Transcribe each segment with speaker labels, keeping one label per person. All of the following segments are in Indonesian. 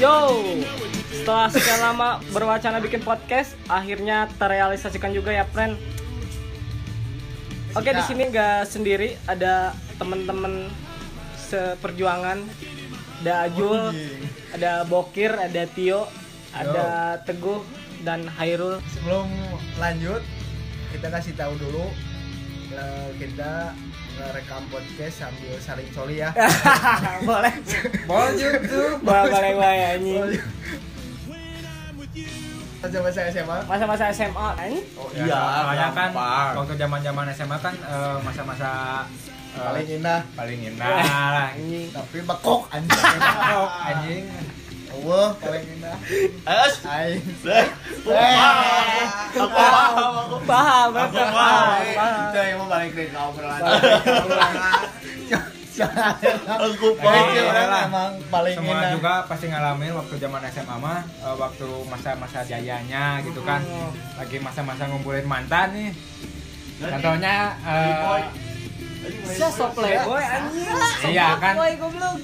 Speaker 1: Yo, setelah sekian lama berwacana bikin podcast, akhirnya terrealisasikan juga ya, friend. Oke, di sini nggak sendiri, ada temen-temen seperjuangan. Ada Ajul, ada Bokir, ada Tio, ada Teguh, dan Hairul.
Speaker 2: Sebelum lanjut, kita kasih tahu dulu eh, kita rekam podcast sambil saling soli ya.
Speaker 1: Eh. boleh,
Speaker 3: Boleh YouTube.
Speaker 1: boleh, boleh, boleh, anjing.
Speaker 2: Coba saya SMA.
Speaker 1: Masa-masa SMA, anjing.
Speaker 2: Oh
Speaker 3: Iya,
Speaker 4: soalnya kan
Speaker 3: gampang.
Speaker 4: waktu zaman-zaman SMA kan eh, masa-masa eh,
Speaker 2: Paling Iya. indah,
Speaker 3: Paling
Speaker 4: nah
Speaker 3: enak.
Speaker 4: lah,
Speaker 1: Anjing.
Speaker 2: tapi bekok anjing.
Speaker 4: kok, anjing.
Speaker 2: Wah, paling indah.
Speaker 3: Es.
Speaker 2: Aing. Eh,
Speaker 3: Eh, Aku paham, aku
Speaker 1: Paham,
Speaker 3: Aku
Speaker 1: paham,
Speaker 3: paham.
Speaker 1: paham.
Speaker 2: Itu yang mau balik dari kau
Speaker 3: paham. Aku
Speaker 4: Oke,
Speaker 2: Pokoknya
Speaker 3: paham.
Speaker 4: iya.
Speaker 2: eh, orang emang paling Ya,
Speaker 4: Semua
Speaker 2: indah.
Speaker 4: juga pasti ngalamin waktu zaman SMA mah eh, waktu masa-masa jayanya gitu kan.
Speaker 2: Oh.
Speaker 4: Lagi masa-masa ngumpulin mantan nih. Contohnya eh,
Speaker 1: Saya sok playboy, anjing. Sok
Speaker 4: Iya, kan?
Speaker 1: Playboy, goblok.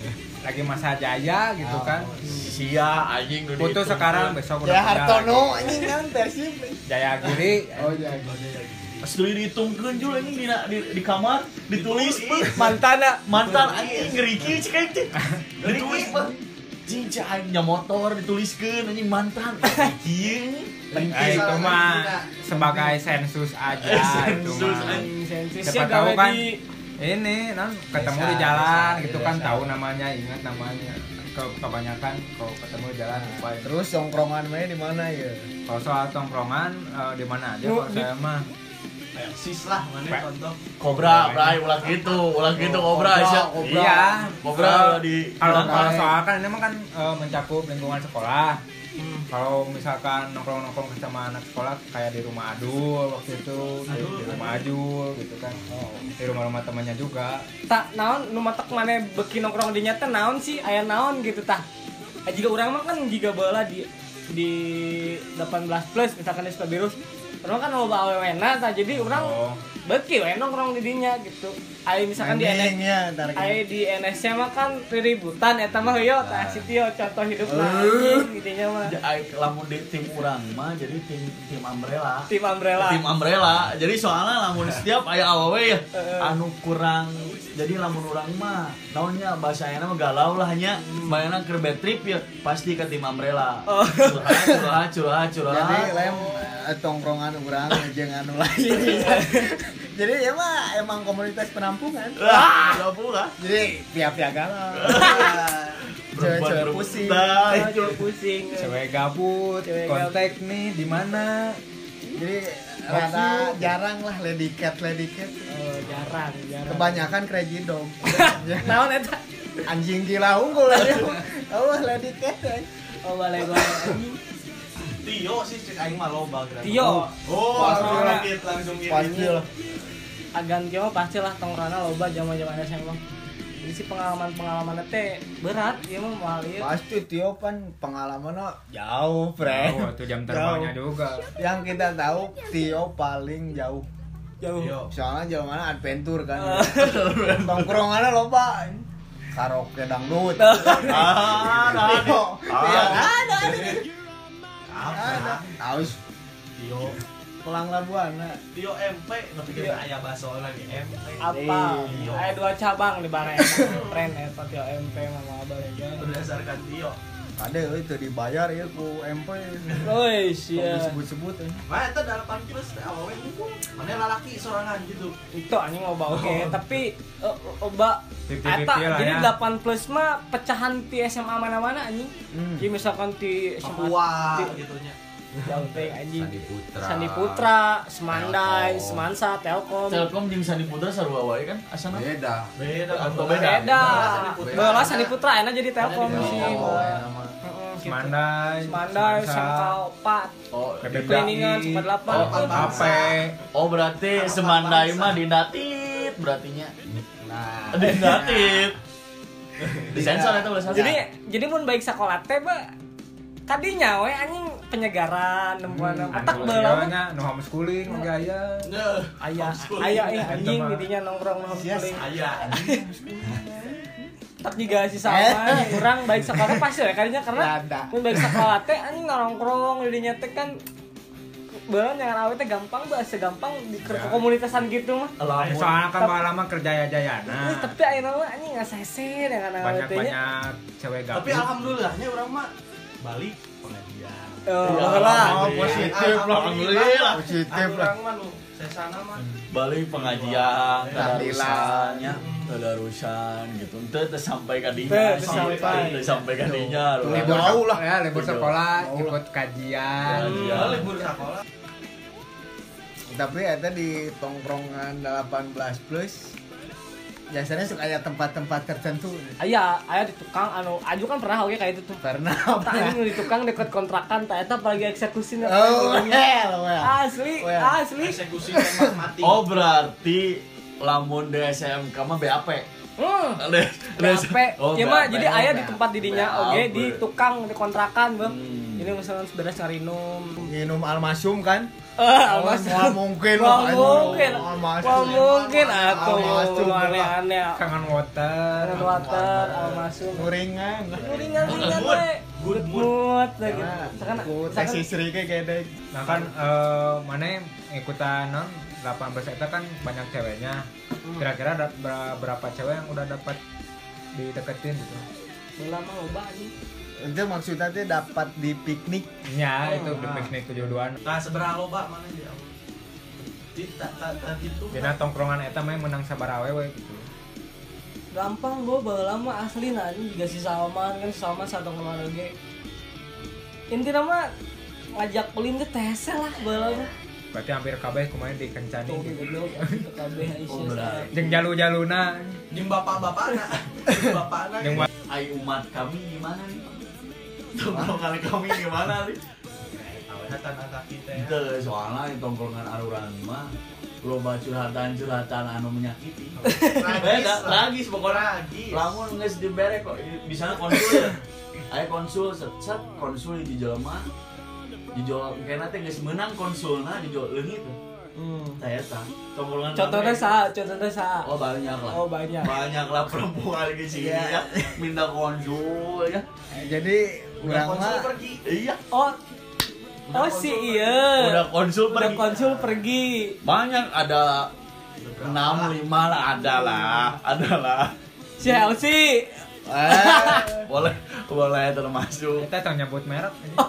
Speaker 4: lagi masa jaya gitu kan.
Speaker 2: Oh. Iya,
Speaker 3: Sia anjing udah
Speaker 4: Putus
Speaker 3: dihitung.
Speaker 4: sekarang besok udah
Speaker 2: Ya
Speaker 4: punya
Speaker 2: Hartono
Speaker 4: lagi.
Speaker 2: anjing kan persib.
Speaker 4: Jaya Giri.
Speaker 2: Oh iya.
Speaker 3: Pas dulu dihitungkeun jul anjing di, di, di kamar ditulis peuh.
Speaker 2: Iya.
Speaker 1: Mantana.
Speaker 3: mantan anjing ngeriki cek aing teh. Ditulis peuh. Jing cek aing nya motor dituliskeun anjing mantan. Kieu.
Speaker 4: Eh, itu mah sebagai sensus aja itu
Speaker 3: Sensus,
Speaker 4: mah.
Speaker 3: anjing.
Speaker 1: Sensisnya
Speaker 4: Siapa
Speaker 1: gawe
Speaker 4: tahu kan
Speaker 1: di
Speaker 4: ini non ketemu di
Speaker 3: Desa,
Speaker 4: jalan
Speaker 3: desa,
Speaker 4: gitu
Speaker 3: di
Speaker 4: kan
Speaker 3: desa.
Speaker 4: tahu namanya ingat namanya ke kebanyakan kalau ketemu di jalan lupa itu.
Speaker 2: iya. Terus tongkrongan mainnya di mana ya?
Speaker 4: kalau soal tongkrongan eh, di mana aja
Speaker 1: Nu-
Speaker 4: kalau saya mah
Speaker 3: Sis lah
Speaker 4: Pe-
Speaker 3: mana contoh. Kobra, Bray, ulah gitu, ulah gitu kobra
Speaker 2: Kobra,
Speaker 3: Sia.
Speaker 2: Kobra.
Speaker 4: iya
Speaker 3: Kobra
Speaker 4: Kalau-
Speaker 3: di
Speaker 4: kalau
Speaker 3: di-
Speaker 4: kalau soal kan ini mah kan eh, mencakup lingkungan sekolah kalau misalkan nongkrong nongkrong sama anak sekolah kayak di rumah Adul waktu itu di, di rumah Ajul gitu kan di rumah-rumah temannya juga
Speaker 1: tak naon nu matak mana beki nongkrong di nyata naon sih aya naon gitu tah Eh, jika orang mah kan jika bola di di 18 plus misalkan di Sukabirus orang kan mau bawa wena tah jadi orang
Speaker 4: Oh.
Speaker 1: beki we nongkrong di dinya gitu aya misalkan di NS
Speaker 2: Endingnya ya, ntar kita-
Speaker 1: aya di NS nya mah kan ributan eta mah heuh tah si Tio contoh hidup
Speaker 4: Eh.
Speaker 1: anjing gitu nya mah
Speaker 3: Ja- ai- lamun di tim urang mah jadi tim tim umbrella
Speaker 1: tim umbrella
Speaker 3: tim umbrella jadi soalnya lamun setiap aya awewe ya anu kurang jadi lamun urang mah naonnya bahasa ayana mah galau lah hanya bayana keur bad trip ya pasti ke tim umbrella
Speaker 1: Oh.
Speaker 3: curhat curhat curhat
Speaker 2: jadi
Speaker 3: curhat
Speaker 2: lem eh, tongkrongan orang jeung anu lain jadi ya mah emang komunitas penampungan
Speaker 3: Wah, udah pula.
Speaker 2: jadi pihak-pihak galau cewek-cewek pusing
Speaker 3: Berbuat-berbuat.
Speaker 1: Oh, cewek pusing
Speaker 4: cewek gabut
Speaker 1: Cewek
Speaker 4: kontak nih di mana
Speaker 2: jadi rada jarang lah lady cat lady cat
Speaker 1: oh jarang jarang
Speaker 2: kebanyakan crazy dog
Speaker 1: naon eta
Speaker 2: anjing gila unggul aja Allah lady cat eh.
Speaker 1: oh boleh boleh anjing
Speaker 3: Tio sih cek aing mah loba kira.
Speaker 1: Tio
Speaker 3: Oh, langsung
Speaker 1: Pasti lah.
Speaker 3: ngedit, langsung ngedit.
Speaker 2: pasti lah
Speaker 1: agan mah pasti lah tongkrona loba zaman zaman SMA jadi si pengalaman pengalaman teh berat ya mah mahal ya
Speaker 2: pasti Tio kan pengalamannya jauh friend
Speaker 4: Oh, itu jam terbangnya juga.
Speaker 2: yang kita tahu Tio paling jauh
Speaker 1: jauh
Speaker 2: soalnya jalan mana adventure kan tongkrongannya loba karaoke dangdut
Speaker 3: Ah, nah,
Speaker 2: Tio Tio
Speaker 3: Ah.
Speaker 2: ada ada
Speaker 3: Apa?
Speaker 2: harus
Speaker 3: Tio,
Speaker 2: pulang labuan nah.
Speaker 3: Tio MP, tapi kita ayah bahasa orang di MP.
Speaker 1: apa ada dua cabang di barang tren eta tio MP mah abal ya
Speaker 3: Berdasarkan Tio.
Speaker 2: ada eh, itu dibayar ya ku MP
Speaker 1: Woi
Speaker 2: yeah.
Speaker 1: sia
Speaker 2: disebut-sebut eh.
Speaker 3: Mana itu dalapan kilos teh awewe ngumpul. Mana lalaki sorangan gitu.
Speaker 1: itu anjing loba oke tapi eh, loba
Speaker 4: Fifty-fifty
Speaker 1: eta
Speaker 4: lah
Speaker 1: jadi
Speaker 4: ya.
Speaker 1: 8 plus mah pecahan di SMA mana-mana anjing
Speaker 2: Hmm.
Speaker 1: jadi misalkan di SMA
Speaker 3: Papua
Speaker 1: di-
Speaker 3: gitunya.
Speaker 1: jauh teh anjing
Speaker 5: Sandi Putra.
Speaker 1: Sandi Putra, Semandai,
Speaker 5: Telkom.
Speaker 1: Semansa, Telkom,
Speaker 3: Telkom jeung Sandi Putra sarua wae kan asana.
Speaker 5: Beda.
Speaker 3: Beda
Speaker 5: Atau
Speaker 3: beda.
Speaker 1: beda
Speaker 5: Putra.
Speaker 1: bola Sandi Putra enak jadi telkom
Speaker 3: Enak jadi
Speaker 1: sih
Speaker 5: Telkom.
Speaker 1: bola.
Speaker 2: enak mah.
Speaker 1: Heeh, gitu.
Speaker 4: Semandai,
Speaker 1: Semandai,
Speaker 4: Semansa,
Speaker 1: Semkalpat,
Speaker 3: Oh,
Speaker 4: Bebek
Speaker 1: Kuningan,
Speaker 4: Dai,
Speaker 1: sempat delapan.
Speaker 3: Oh,
Speaker 4: HP,
Speaker 3: oh berarti Semandai mah dinatit berartinya.
Speaker 5: Nah,
Speaker 3: Dinatit. Disensor itu boleh
Speaker 1: Jadi jadi mun baik sekolah teh ba kadinya we anjing penyegaran nemuan otak
Speaker 4: bola.
Speaker 1: bola mah.
Speaker 4: Nya nu homeschooling ge aya.
Speaker 3: Nah,
Speaker 1: Aya aya eh anjing
Speaker 4: Itu mah.
Speaker 1: didinya nongkrong nongkrong.
Speaker 3: Ayah,
Speaker 1: otak juga si sama kurang baik sekolah pasti ya kayaknya karena
Speaker 2: Lada.
Speaker 1: mun baik sekolah teh anjing nongkrong di teh kan Bahkan yang awet teh gampang bahasa gampang di ke
Speaker 4: Ya.
Speaker 1: komunitasan gitu mah
Speaker 4: Eh,
Speaker 6: lamun
Speaker 4: soalnya kan lama kerja jaya
Speaker 1: Ini tapi ayeuna mah anjing ngasese dengan awet
Speaker 4: banyak
Speaker 1: teh nya
Speaker 4: banyak cewek gabut
Speaker 3: Tapi alhamdulillahnya orang mah balik pengajian.
Speaker 2: Iya.
Speaker 1: Eh,
Speaker 6: lah
Speaker 3: Oh,
Speaker 6: positif lah alhamdulillah
Speaker 2: Positif lah.
Speaker 3: Orang mah nu sesana mah
Speaker 6: balik pengajian
Speaker 2: Tahlilan.
Speaker 6: tadarusannya tadarusan gitu ente teu sampai ka
Speaker 1: Teu,
Speaker 6: dinya
Speaker 1: teu
Speaker 6: sih
Speaker 1: sampai.
Speaker 6: teu sampai ka
Speaker 1: Iya,
Speaker 6: dinya
Speaker 2: Tuh,
Speaker 6: orang.
Speaker 2: libur. Jauh lah.
Speaker 4: ya libur
Speaker 6: Jauh.
Speaker 4: sekolah
Speaker 2: Jauh
Speaker 4: ikut kajian
Speaker 6: Kajian.
Speaker 3: Lah, libur sekolah.
Speaker 2: tapi eta di tongkrongan 18 plus biasanya suka ada tempat-tempat tertentu
Speaker 1: Aya, aya di tukang anu aju kan pernah oke kayak itu tuh.
Speaker 2: pernah
Speaker 1: Tak
Speaker 2: apa ya?
Speaker 1: anjing di tukang dekat kontrakan tak eta apalagi eksekusi na-
Speaker 2: oh well well
Speaker 1: Asli,
Speaker 2: Well.
Speaker 1: asli.
Speaker 3: Eksekusi tembak mati.
Speaker 6: oh berarti lamun di SMK mah BAP
Speaker 1: Hmm.
Speaker 6: Le- le-
Speaker 1: BAP.
Speaker 6: oh,
Speaker 1: ya mah
Speaker 6: BAP.
Speaker 1: jadi ayah di tempat didinya
Speaker 6: BAP.
Speaker 1: oke di tukang di kontrakan bang.
Speaker 6: Hmm.
Speaker 1: Ini misalnya sebelas ngarinum.
Speaker 2: minum almasum kan
Speaker 1: Eh,
Speaker 2: Wah, mungkin ya.
Speaker 1: Wah,
Speaker 2: makanya.
Speaker 1: mungkin.
Speaker 2: Almasum.
Speaker 1: Wah mungkin atau
Speaker 2: Almasum,
Speaker 1: aneh-aneh.
Speaker 4: kangen water
Speaker 1: Ada water, almasum.
Speaker 2: Nguringan.
Speaker 1: Ringan-ringan
Speaker 3: Good
Speaker 1: we.
Speaker 3: mood.
Speaker 1: Good mood. lah gitu.
Speaker 2: Nah,
Speaker 1: Misalkan-
Speaker 2: ku teh
Speaker 1: misalkan-
Speaker 2: sisri ke gede
Speaker 4: nah kan eh, mana ikutan non 18 itu kan banyak ceweknya
Speaker 1: Hmm.
Speaker 4: kira-kira ada ber- berapa cewek yang udah dapat dideketin gitu
Speaker 1: Bola mah loba anjing.
Speaker 2: itu maksudnya teh dapat di piknik
Speaker 4: ya itu
Speaker 1: Oh,
Speaker 4: di
Speaker 1: nah.
Speaker 4: piknik kejodohan
Speaker 3: Nah, seberapa loba mana dia? Cita tadi itu.
Speaker 4: jadi tongkrongan eta mah menang sabar awewe gitu
Speaker 1: Gampang gue bawa lama asli nah ini juga si Salman kan si Salman satu kemarin oke Inti nama ngajak pelin ke TSE lah bawa lama
Speaker 4: berarti hampir kabeh kemarin dikencani
Speaker 1: Tuh
Speaker 4: gitu.
Speaker 1: goblok ke KB Aisyah saya.
Speaker 4: jeung jalu-jaluna
Speaker 3: jeung bapak-bapana. Jeung bapana.
Speaker 4: jeung wa-
Speaker 6: Ai umat kami gimana nih tongkrongan kami gimana nih
Speaker 3: Awehatan anak kita ya.
Speaker 6: itu soalnya yang tongkrongan aruran mah loba curhatan-curhatan anu menyakiti beda
Speaker 3: Beda
Speaker 6: lagi pokoknya
Speaker 3: lagi.
Speaker 6: lamun nges dibere kok di sana konsul ya ayo konsul set set konsul di jelema dijual kayaknya teh geus menang konsulna dijual leungit
Speaker 1: Hmm.
Speaker 6: saya eta tongkrongan
Speaker 1: Contohnya
Speaker 6: kami.
Speaker 1: sa, contohnya sa.
Speaker 6: oh banyak lah
Speaker 1: Oh banyak. Iya.
Speaker 6: banyak lah perempuan di sini ya minta konsul ya
Speaker 2: Eh, jadi
Speaker 3: Udah
Speaker 2: kurang
Speaker 3: konsul
Speaker 2: mah
Speaker 3: pergi.
Speaker 6: iya
Speaker 1: Oh,
Speaker 3: Udah
Speaker 1: oh
Speaker 3: konsul
Speaker 1: si
Speaker 3: pergi.
Speaker 1: iya.
Speaker 6: udah konsul
Speaker 1: Udah
Speaker 6: pergi
Speaker 1: konsul pergi.
Speaker 6: banyak ada enam lima lah ada lah ada lah
Speaker 1: Si Elsi.
Speaker 2: eh,
Speaker 6: boleh boleh termasuk
Speaker 4: eta tong nyebut merek
Speaker 1: Oh,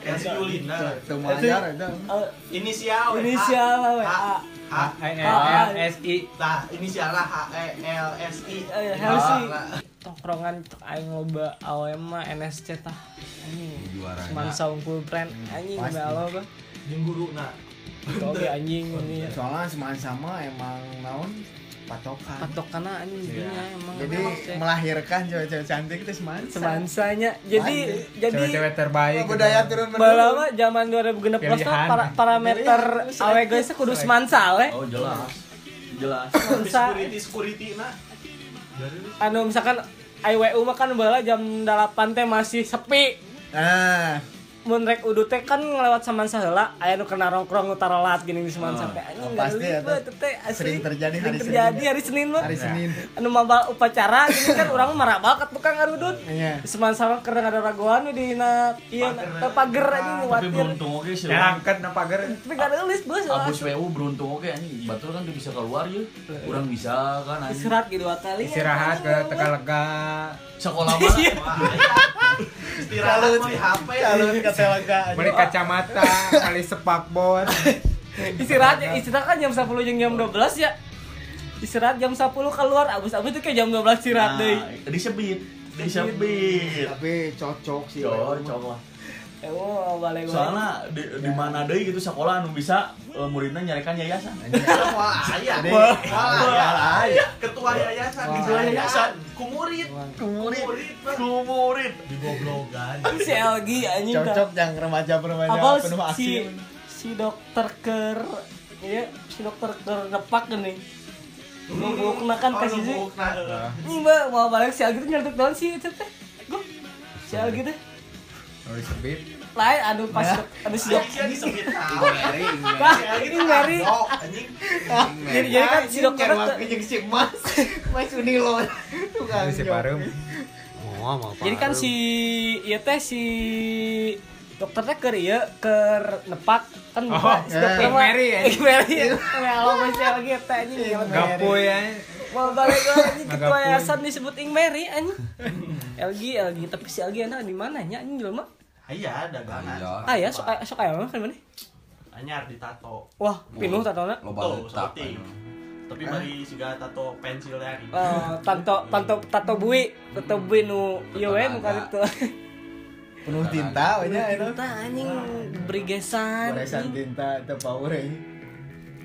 Speaker 3: Ya, si Yulina.
Speaker 2: itu wajar itu
Speaker 1: Eh,
Speaker 3: Inisial. W, A.
Speaker 1: Inisial lah, W, A.
Speaker 3: H.
Speaker 4: A E.
Speaker 1: Ah,
Speaker 4: N L S I
Speaker 3: Nah, inisial lah H E L S I.
Speaker 1: Eh, Helsi. Tongkrongan cek aing loba AWM mah NSC tah. Anjing. Cuman saungkul pren anjing
Speaker 2: Pasti.
Speaker 1: balo bah.
Speaker 3: Jeung guruna.
Speaker 1: Oke anjing ini
Speaker 2: soalnya semuanya sama emang naon patokan
Speaker 1: patokana anjing dinya emang
Speaker 2: jadi
Speaker 1: emang sih.
Speaker 2: melahirkan cewek-cewek cantik itu semansa
Speaker 1: semansanya. Jadi jadi
Speaker 4: cewek-cewek terbaik gitu.
Speaker 2: budaya turun menurun
Speaker 1: Balama zaman 2016 tuh
Speaker 4: Pilihan.
Speaker 1: para, parameter awe guys kudu semansal we.
Speaker 6: oh jelas jelas
Speaker 2: Oh,
Speaker 1: Semansal.
Speaker 3: Security security nah.
Speaker 1: anu misalkan IWU mah kan bala jam 8 teh masih sepi
Speaker 2: nah
Speaker 1: mun rek udu teh kan ngelewat saman saheula aya nu kena rongkrong utaralat gini di saman sampai anjing
Speaker 2: Oh. pasti
Speaker 1: gaduh,
Speaker 2: ya, tuh.
Speaker 1: beuh, teh asli
Speaker 2: Sering terjadi
Speaker 1: sering
Speaker 2: hari Senin,
Speaker 1: terjadi
Speaker 2: ya.
Speaker 1: hari Senin mah
Speaker 2: hari Senin
Speaker 1: anu mabal upacara gini kan urang mah marabal ke tukang ngarudut
Speaker 2: Iya.
Speaker 1: saman sama keur ada raguan we di na ieu na- na pager anjing
Speaker 6: tapi
Speaker 1: nguatir
Speaker 6: beruntung oke sih
Speaker 4: nyerangkeun na pager
Speaker 1: tapi kada eulis beuh salah
Speaker 6: Abus WU beruntung oke anjing batur kan tuh bisa keluar ya kurang bisa kan anjing
Speaker 1: istirahat gitu dua kali
Speaker 4: istirahat ke teka lega
Speaker 6: sekolah mana
Speaker 3: Wah, ya. Istirahat
Speaker 2: Kalau-
Speaker 3: di HP.
Speaker 2: kalau kata lega
Speaker 4: beli kacamata kali sepak bot
Speaker 1: istirahat ya, istirahat kan jam 10 jeung jam 12 ya istirahat jam 10 keluar abis abis itu kayak jam 12 istirahat deh
Speaker 6: Nah, disebit disebit
Speaker 2: tapi cocok sih
Speaker 6: cocok lah
Speaker 1: eh mau balik
Speaker 6: soalnya di, di mana deh gitu sekolah anu bisa eh, muridnya nyarekan yayasan
Speaker 3: Wah, ya.
Speaker 2: Jadi-
Speaker 3: Wah,
Speaker 2: Wah,
Speaker 3: ya. Ketua yayasan, ketua yayasan, kumurit,
Speaker 2: Kumurit.
Speaker 3: kumurit,
Speaker 6: Ku murid
Speaker 3: di goblogan.
Speaker 1: si LG anjing
Speaker 2: cocok yang remaja-remaja
Speaker 1: apa
Speaker 2: penuh aksi
Speaker 1: si si dokter ker ya si dokter ker nepak nih Oh, nunggu kenakan ke sisi ini mbak mau balik si LG tuh nyeletuk doang sih itu teh gue si LG tuh
Speaker 4: nulis beat
Speaker 1: lain aduh pas aduh sidok
Speaker 3: Anjing disebut tahu.
Speaker 7: Ngering.
Speaker 1: Wah, ini ngeri
Speaker 3: Oh, anjing.
Speaker 1: jadi jadi
Speaker 2: Nah,
Speaker 1: kan si dokter
Speaker 7: Kayak waktu jeung si Mas. Mas Unilon. Tukang.
Speaker 4: Ini si Parum.
Speaker 6: Oh, mau
Speaker 1: jadi kan si iya teh si dokter teh keur ieu keur nepak kan
Speaker 4: Oh,
Speaker 1: buka si
Speaker 4: eh,
Speaker 1: dokter
Speaker 4: Ig
Speaker 1: mah
Speaker 4: Mary, ya?
Speaker 1: Ig Mary ya Allah masih lagi eta anjing
Speaker 4: Gapoy ya.
Speaker 1: Mau balik lagi
Speaker 4: Nah,
Speaker 1: ketua
Speaker 4: gapun.
Speaker 1: yayasan disebut Ing Mary anjing. LG LG tapi si LG enak di mana nya anjing jelema?
Speaker 3: Aya dagangan.
Speaker 7: Iya.
Speaker 1: Ah ya sok sok aya mah kan mana?
Speaker 3: Anyar ditato.
Speaker 1: Wah, pinuh tatona.
Speaker 7: Loba
Speaker 3: Tuh,
Speaker 7: letak.
Speaker 3: seperti. Tapi bari siga tato pensil dari.
Speaker 1: Eh, tanto tanto tato bui, tato bui nu ieu we nu karep teu.
Speaker 2: penuh tinta wanya itu
Speaker 1: Eta anjing diberi gesan.
Speaker 2: goresan
Speaker 1: anjing.
Speaker 2: tinta itu power eh.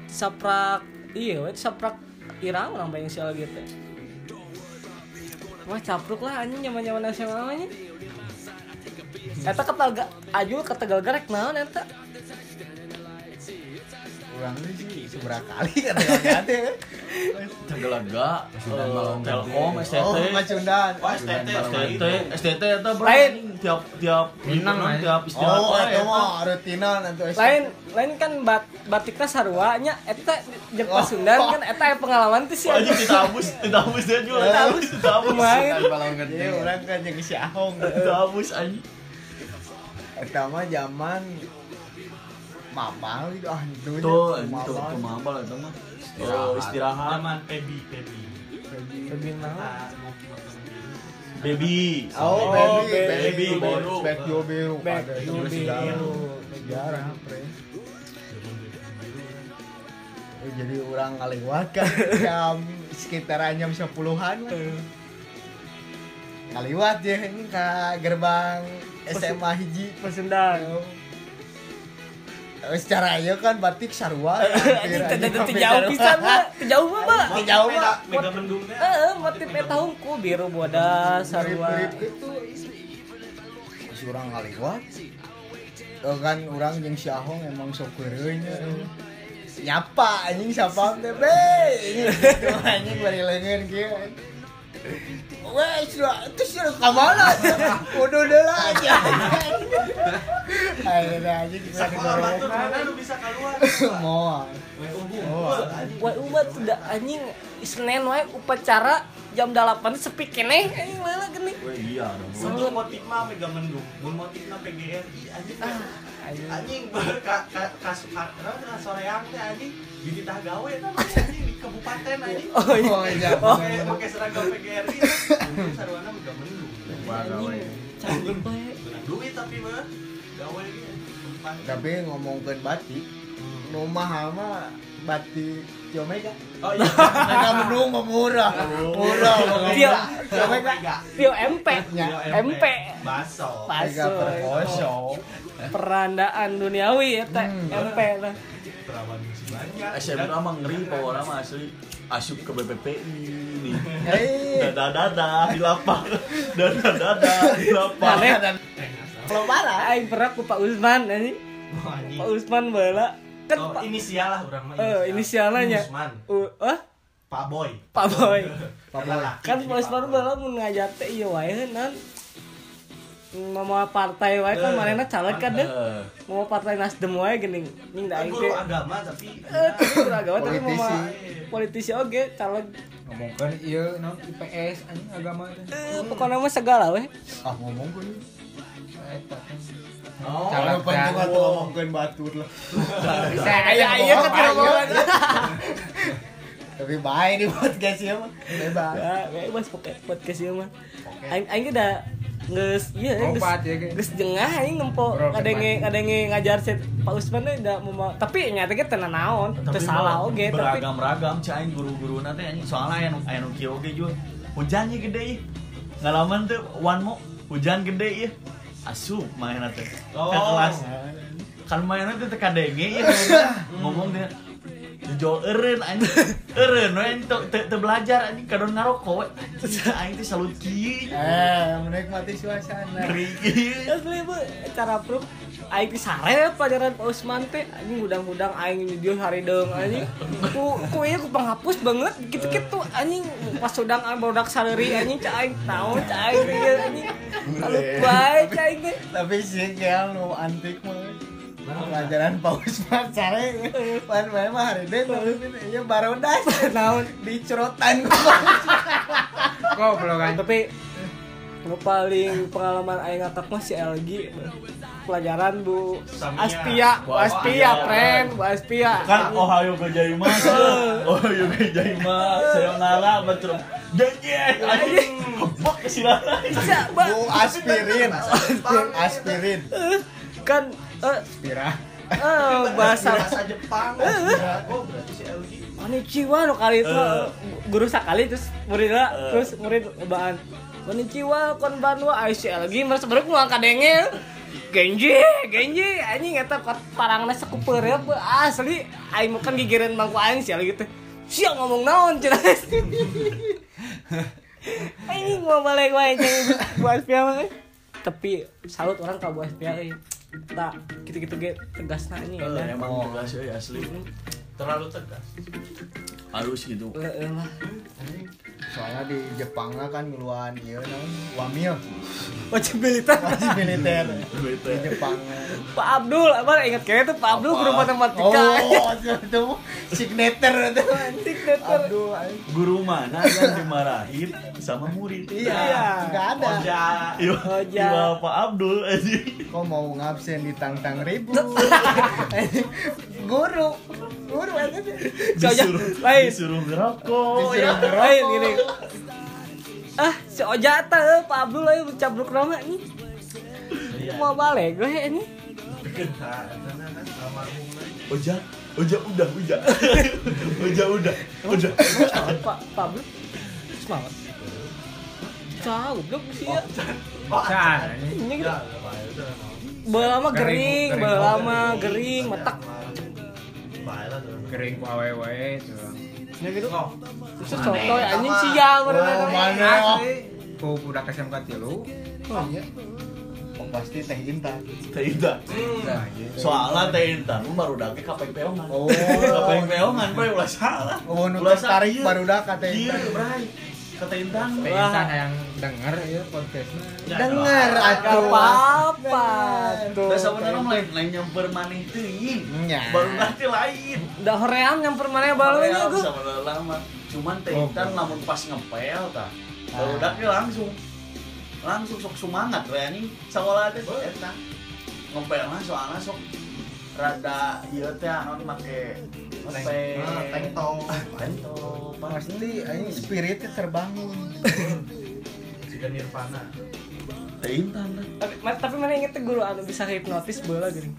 Speaker 1: Saprak iya we saprak irang orang bayang si LG teh. Wah capruk lah anjing nyaman-nyaman nasional anjing. Eta ketal ajul ketegal garek naon eta?
Speaker 2: kurang sih seberapa kali kata ganti kan
Speaker 6: Tegelaga,
Speaker 7: Sundan
Speaker 6: eh,
Speaker 7: Malam.
Speaker 6: Telkom,
Speaker 2: oh
Speaker 6: STT,
Speaker 2: macundan
Speaker 3: Oh, STT,
Speaker 6: STT,
Speaker 3: STT.
Speaker 6: STT itu bro,
Speaker 1: Lain.
Speaker 6: tiap tiap
Speaker 4: Minang,
Speaker 6: minang,
Speaker 4: eh.
Speaker 6: tiap istilah
Speaker 2: oh
Speaker 6: apa
Speaker 2: itu mah rutinan nanti
Speaker 1: lain lain kan bat, batiknya sarwanya eta jeung Pasundan kan eta aya pengalaman teh sih
Speaker 6: Oh, Anjing ditabus, ditabus dia juga, ditabus, ditabus,
Speaker 1: lumayan
Speaker 2: jadi orang kan yang si ahong
Speaker 6: ditabus anjing.
Speaker 2: pertama zaman mamal gitu ah itu
Speaker 6: Tuh, anjing, tuh, tuh mabal itu mah. Oh, istirahat,
Speaker 3: Zaman Pebi, Pebi.
Speaker 1: lebih
Speaker 3: Ah,
Speaker 1: mahal
Speaker 6: baby.
Speaker 2: Oh,
Speaker 1: Oh,
Speaker 2: baby,
Speaker 3: baby,
Speaker 2: baby,
Speaker 3: baru.
Speaker 2: back you biru,
Speaker 1: Back
Speaker 2: Ada
Speaker 1: you
Speaker 2: juga
Speaker 1: biru.
Speaker 2: sejarah. sejarah, pre. Eh, jadi orang ngaliwat kan jam sekitaran jam 10-an lah. Ngaliwat ya ini ke gerbang SMA hiji.
Speaker 1: Pasundan
Speaker 2: Eh, Secara ya kan batik sarua.
Speaker 1: anjing teh teh- teh jauh pisan lah teu jauh mah Mbak.
Speaker 3: motif
Speaker 2: jauh,
Speaker 3: mega-
Speaker 2: Pak. Eh,
Speaker 3: Mega mendung teh.
Speaker 1: heeh motif eta hungku biru bodas sarua
Speaker 2: Mirip-mirip gitu. Terus orang ngaliwat. Eh, kan orang yang si Ahong emang sok keureunya. Nyapa anjing siapa teh be. Gitu anjing bari leungeun kieu. Wes sudah terus sudah ka mana? Kudu deula aja. Ayeuna anjing bisa
Speaker 3: Wah, batur,
Speaker 2: digoreng. ah.
Speaker 3: mana lu bisa keluar?
Speaker 2: Moal.
Speaker 3: Weh, umbu.
Speaker 1: wae umat udah anjing Senin wae upacara jam 8 sepi keneh anjing leula gini
Speaker 6: Weh, Oh, iya, dong.
Speaker 3: Untuk motif mah mega mendung. Mun motif mah PGRI anjing.
Speaker 1: Ah, anjing.
Speaker 3: Anjing berka kas karena soreang teh anjing di titah gawe tah anjing di kabupaten anjing.
Speaker 1: oh iya
Speaker 2: Oh, iya.
Speaker 3: Pakai pakai seragam PGRI. anjing, Sarwana mega mendung.
Speaker 1: anjing
Speaker 3: Beunang
Speaker 1: canggih wae
Speaker 3: Nah, duit tapi mah gawe ge. Tempat.
Speaker 2: Tapi ngomongkeun batik, nu mahal mah batik Jomega.
Speaker 3: Oh iya. Oh.
Speaker 2: Harga mendung mah murah. Murah
Speaker 1: Iya.
Speaker 2: mah.
Speaker 3: Omega.
Speaker 1: Pio MP
Speaker 2: Ya,
Speaker 1: MP
Speaker 3: Baso.
Speaker 2: Harga
Speaker 1: Pasoy.
Speaker 2: perkosong.
Speaker 1: perandaan duniawi ya teh
Speaker 3: Hmm.
Speaker 1: MP lah
Speaker 3: Perawan masih banyak.
Speaker 6: SMA mah ngeri power mah asli asup ke BPPI nih.
Speaker 2: Hei.
Speaker 6: Dada dada di lapang. Dada dada di lapang.
Speaker 1: Aneh.
Speaker 3: eh,
Speaker 2: Kalau parah.
Speaker 1: Aing pernah ku Pak Usman anjing.
Speaker 3: Oh, anjing.
Speaker 1: Pak Usman bala kan
Speaker 3: Oh,
Speaker 1: Pak
Speaker 3: inisial lah orang mah.
Speaker 1: eh inisialnya
Speaker 3: Usman.
Speaker 1: U- eh
Speaker 3: Pak Boy.
Speaker 1: Pak Boy.
Speaker 3: Karena laki,
Speaker 1: Kan
Speaker 3: jadi
Speaker 1: Pak Usman
Speaker 3: Boy.
Speaker 1: bala mun ngajak teh ieu wae heunan. Nama partai wae kan
Speaker 3: Eh,
Speaker 1: manehna caleg kan deh.
Speaker 6: Eh,
Speaker 1: Mau partai Nasdem wae geuning. Ning da
Speaker 3: Kan
Speaker 1: aing
Speaker 3: guru
Speaker 1: teh.
Speaker 3: agama tapi
Speaker 1: Eh, tapi beragama tapi mama
Speaker 2: Politisi.
Speaker 1: politisi oge caleg
Speaker 4: Ngomongkan iya non IPS anjing agama teh.
Speaker 1: eh pokoknya mah segala weh.
Speaker 2: Ah ngomong gue nih.
Speaker 4: Eta kan.
Speaker 3: Oh,
Speaker 4: Calon
Speaker 2: Penting
Speaker 4: kan.
Speaker 2: atau ngomongin batur lah.
Speaker 1: Saya iya kan
Speaker 2: Ayo.
Speaker 1: kira-kira.
Speaker 2: Tapi baik nih podcast ya mah. Bebas.
Speaker 1: Ya, we mas podcast podcast ieu mah. Aing aing da geus ieu geus
Speaker 4: Obat ya, ge.
Speaker 1: geus jengah aing nempo
Speaker 4: Ngobrol
Speaker 1: kadenge
Speaker 4: kemarin.
Speaker 1: kadenge ngajar set Pak Usman teh da mau tapi nyata ge teu naon, teu salah oge tapi
Speaker 6: beragam ragam cain guru guru nanti anjing soalnya yang yang oke oke juga hujannya gede ih ngalaman tuh one mo hujan gede ih asup main nanti
Speaker 3: Oh.
Speaker 6: ke kelas kan main nanti teka denge ya ngomong dia Jol eren anjing, eren anjing teu belajar anjing kadon ngaroko we. Aing teh salut kieu.
Speaker 2: Eh, menikmati suasana.
Speaker 6: Ngeri kieu.
Speaker 1: asli bu Eh, cara proof aing disare pelajaran Pak Usman teh anjing gudang-gudang aing di dieu harideung anjing. Ku ku ieu ku penghapus banget ah, gitu-gitu anjing pas sudang aing bodak sareri anjing ca aing taon ca aing ieu anjing. Kalau baik aing teh.
Speaker 2: tapi sih kayak nu antik mah pelajaran paus mah care pan bae mah hari deh tapi ieu barodas naon dicerotan ku
Speaker 4: Kok belum kan?
Speaker 1: Tapi nu paling pengalaman aing ngatak mah si LG pelajaran Bu
Speaker 3: Samia.
Speaker 1: Aspia, Bu
Speaker 6: Wah,
Speaker 1: Aspia,
Speaker 6: iya.
Speaker 1: friend, Bu Aspia.
Speaker 6: kan "Oh, Ohio gozaimasu Ohio gozaimasu sayonara betul janjian anjing bok kesilapan
Speaker 1: Bisa, Ba.
Speaker 2: Bu aspirin aspirin
Speaker 1: Kan eh
Speaker 4: Pira.
Speaker 1: eh, bahasa
Speaker 3: bahasa Jepang oh berarti si LG
Speaker 1: Konnichiwa lo kali itu
Speaker 6: Eh.
Speaker 1: guru sekali terus muridnya
Speaker 6: Eh.
Speaker 1: terus murid baan Konnichiwa konbanwa ICL lagi merasa baru gua angkat dengel Genji, Genji, anjing eta kot parangna sakeupeureup asli aing mah kan gigireun mangku aing sial gitu. Sia ngomong naon cenah. Anjing mau balik wae jeung buat piala eh. Tapi salut orang ka buat piala. Tak eh. gitu-gitu ge tegasna anjing
Speaker 6: Eh,
Speaker 1: eta.
Speaker 6: emang tegas euy asli
Speaker 3: terlalu tegas
Speaker 6: harus gitu
Speaker 1: Heeh lah.
Speaker 2: soalnya di Jepang lah kan ngeluan ieu naon wamil
Speaker 1: Wajib militer.
Speaker 2: wajib militer di Jepang
Speaker 1: Pak Abdul, apa ingat kayaknya tuh Pak Abdul guru matematika.
Speaker 2: oh itu signature itu
Speaker 1: Signature.
Speaker 2: aduh aing.
Speaker 6: guru mana yang dimarahin sama murid
Speaker 2: iya nggak ada
Speaker 3: Oja
Speaker 6: Iya,
Speaker 1: Oja.
Speaker 6: iya Pak Abdul anjing.
Speaker 2: kok mau ngabsen di tantang ribu guru guru aja deh.
Speaker 1: Si Oja,
Speaker 6: Disuruh,
Speaker 1: lain.
Speaker 6: disuruh ngerokok.
Speaker 1: ya, lain gini. Ah, si Oja teh eh, Pak Abdul ayo cabruk nama ini. Mau balik gue ya ini.
Speaker 6: Oja, Oja udah, Oja. Oja udah, Oja.
Speaker 1: Semangat, Pak Pak Abdul. Semangat. Jauh dong sih ya.
Speaker 4: Can. anjing.
Speaker 1: Ini
Speaker 3: Iya.
Speaker 1: gitu. Belama
Speaker 4: Gering,
Speaker 1: gering,
Speaker 4: gering.
Speaker 1: belama gering, metak.
Speaker 3: Baiklah, terus.
Speaker 4: Kering ku awewe curang.
Speaker 1: Ya gitu.
Speaker 3: Oh,
Speaker 1: Terus contoh ya, anjing siang.
Speaker 2: Oh, mana?
Speaker 4: Ku budak SMK tilu.
Speaker 2: Hmm. Oh, pasti teh intan
Speaker 6: Teh Intan. Soalnya Teh Intan lu baru dake kapeng peongan.
Speaker 2: Oh.
Speaker 6: kapeng peongan gue ulah salah.
Speaker 2: Oh, nu
Speaker 6: Ulah
Speaker 2: tertarik
Speaker 6: salah, iya.
Speaker 2: barudak ka Teh
Speaker 6: Iya,
Speaker 2: Intan.
Speaker 6: Bray. Ka Teh Intan.
Speaker 1: Wah.
Speaker 4: Bisa yang denger ya podcastnya.
Speaker 2: dengar
Speaker 1: Gak
Speaker 2: atuh
Speaker 1: apa-apa tuh.
Speaker 6: Udah sebenarnya lain lain nyamper maneh teuing.
Speaker 2: Nya.
Speaker 6: Baru nanti lain.
Speaker 1: Udah hoream ya, yang permanen balunya
Speaker 6: Hoream
Speaker 1: gue.
Speaker 6: sama lama. Cuman Teh Intan lamun pas ngepel tah. Baru dake langsung langsung sok semangat we anjing. Sakola teh eta. Ngepel mah soalnya sok rada ieu teh anon make make
Speaker 3: tengtong.
Speaker 6: Bento,
Speaker 2: pasti aing spiritnya terbangun
Speaker 3: Sudah Nirvana.
Speaker 6: Intan lah.
Speaker 1: Tapi, ma- tapi mana inget tuh guru anu bisa hipnotis bola gini.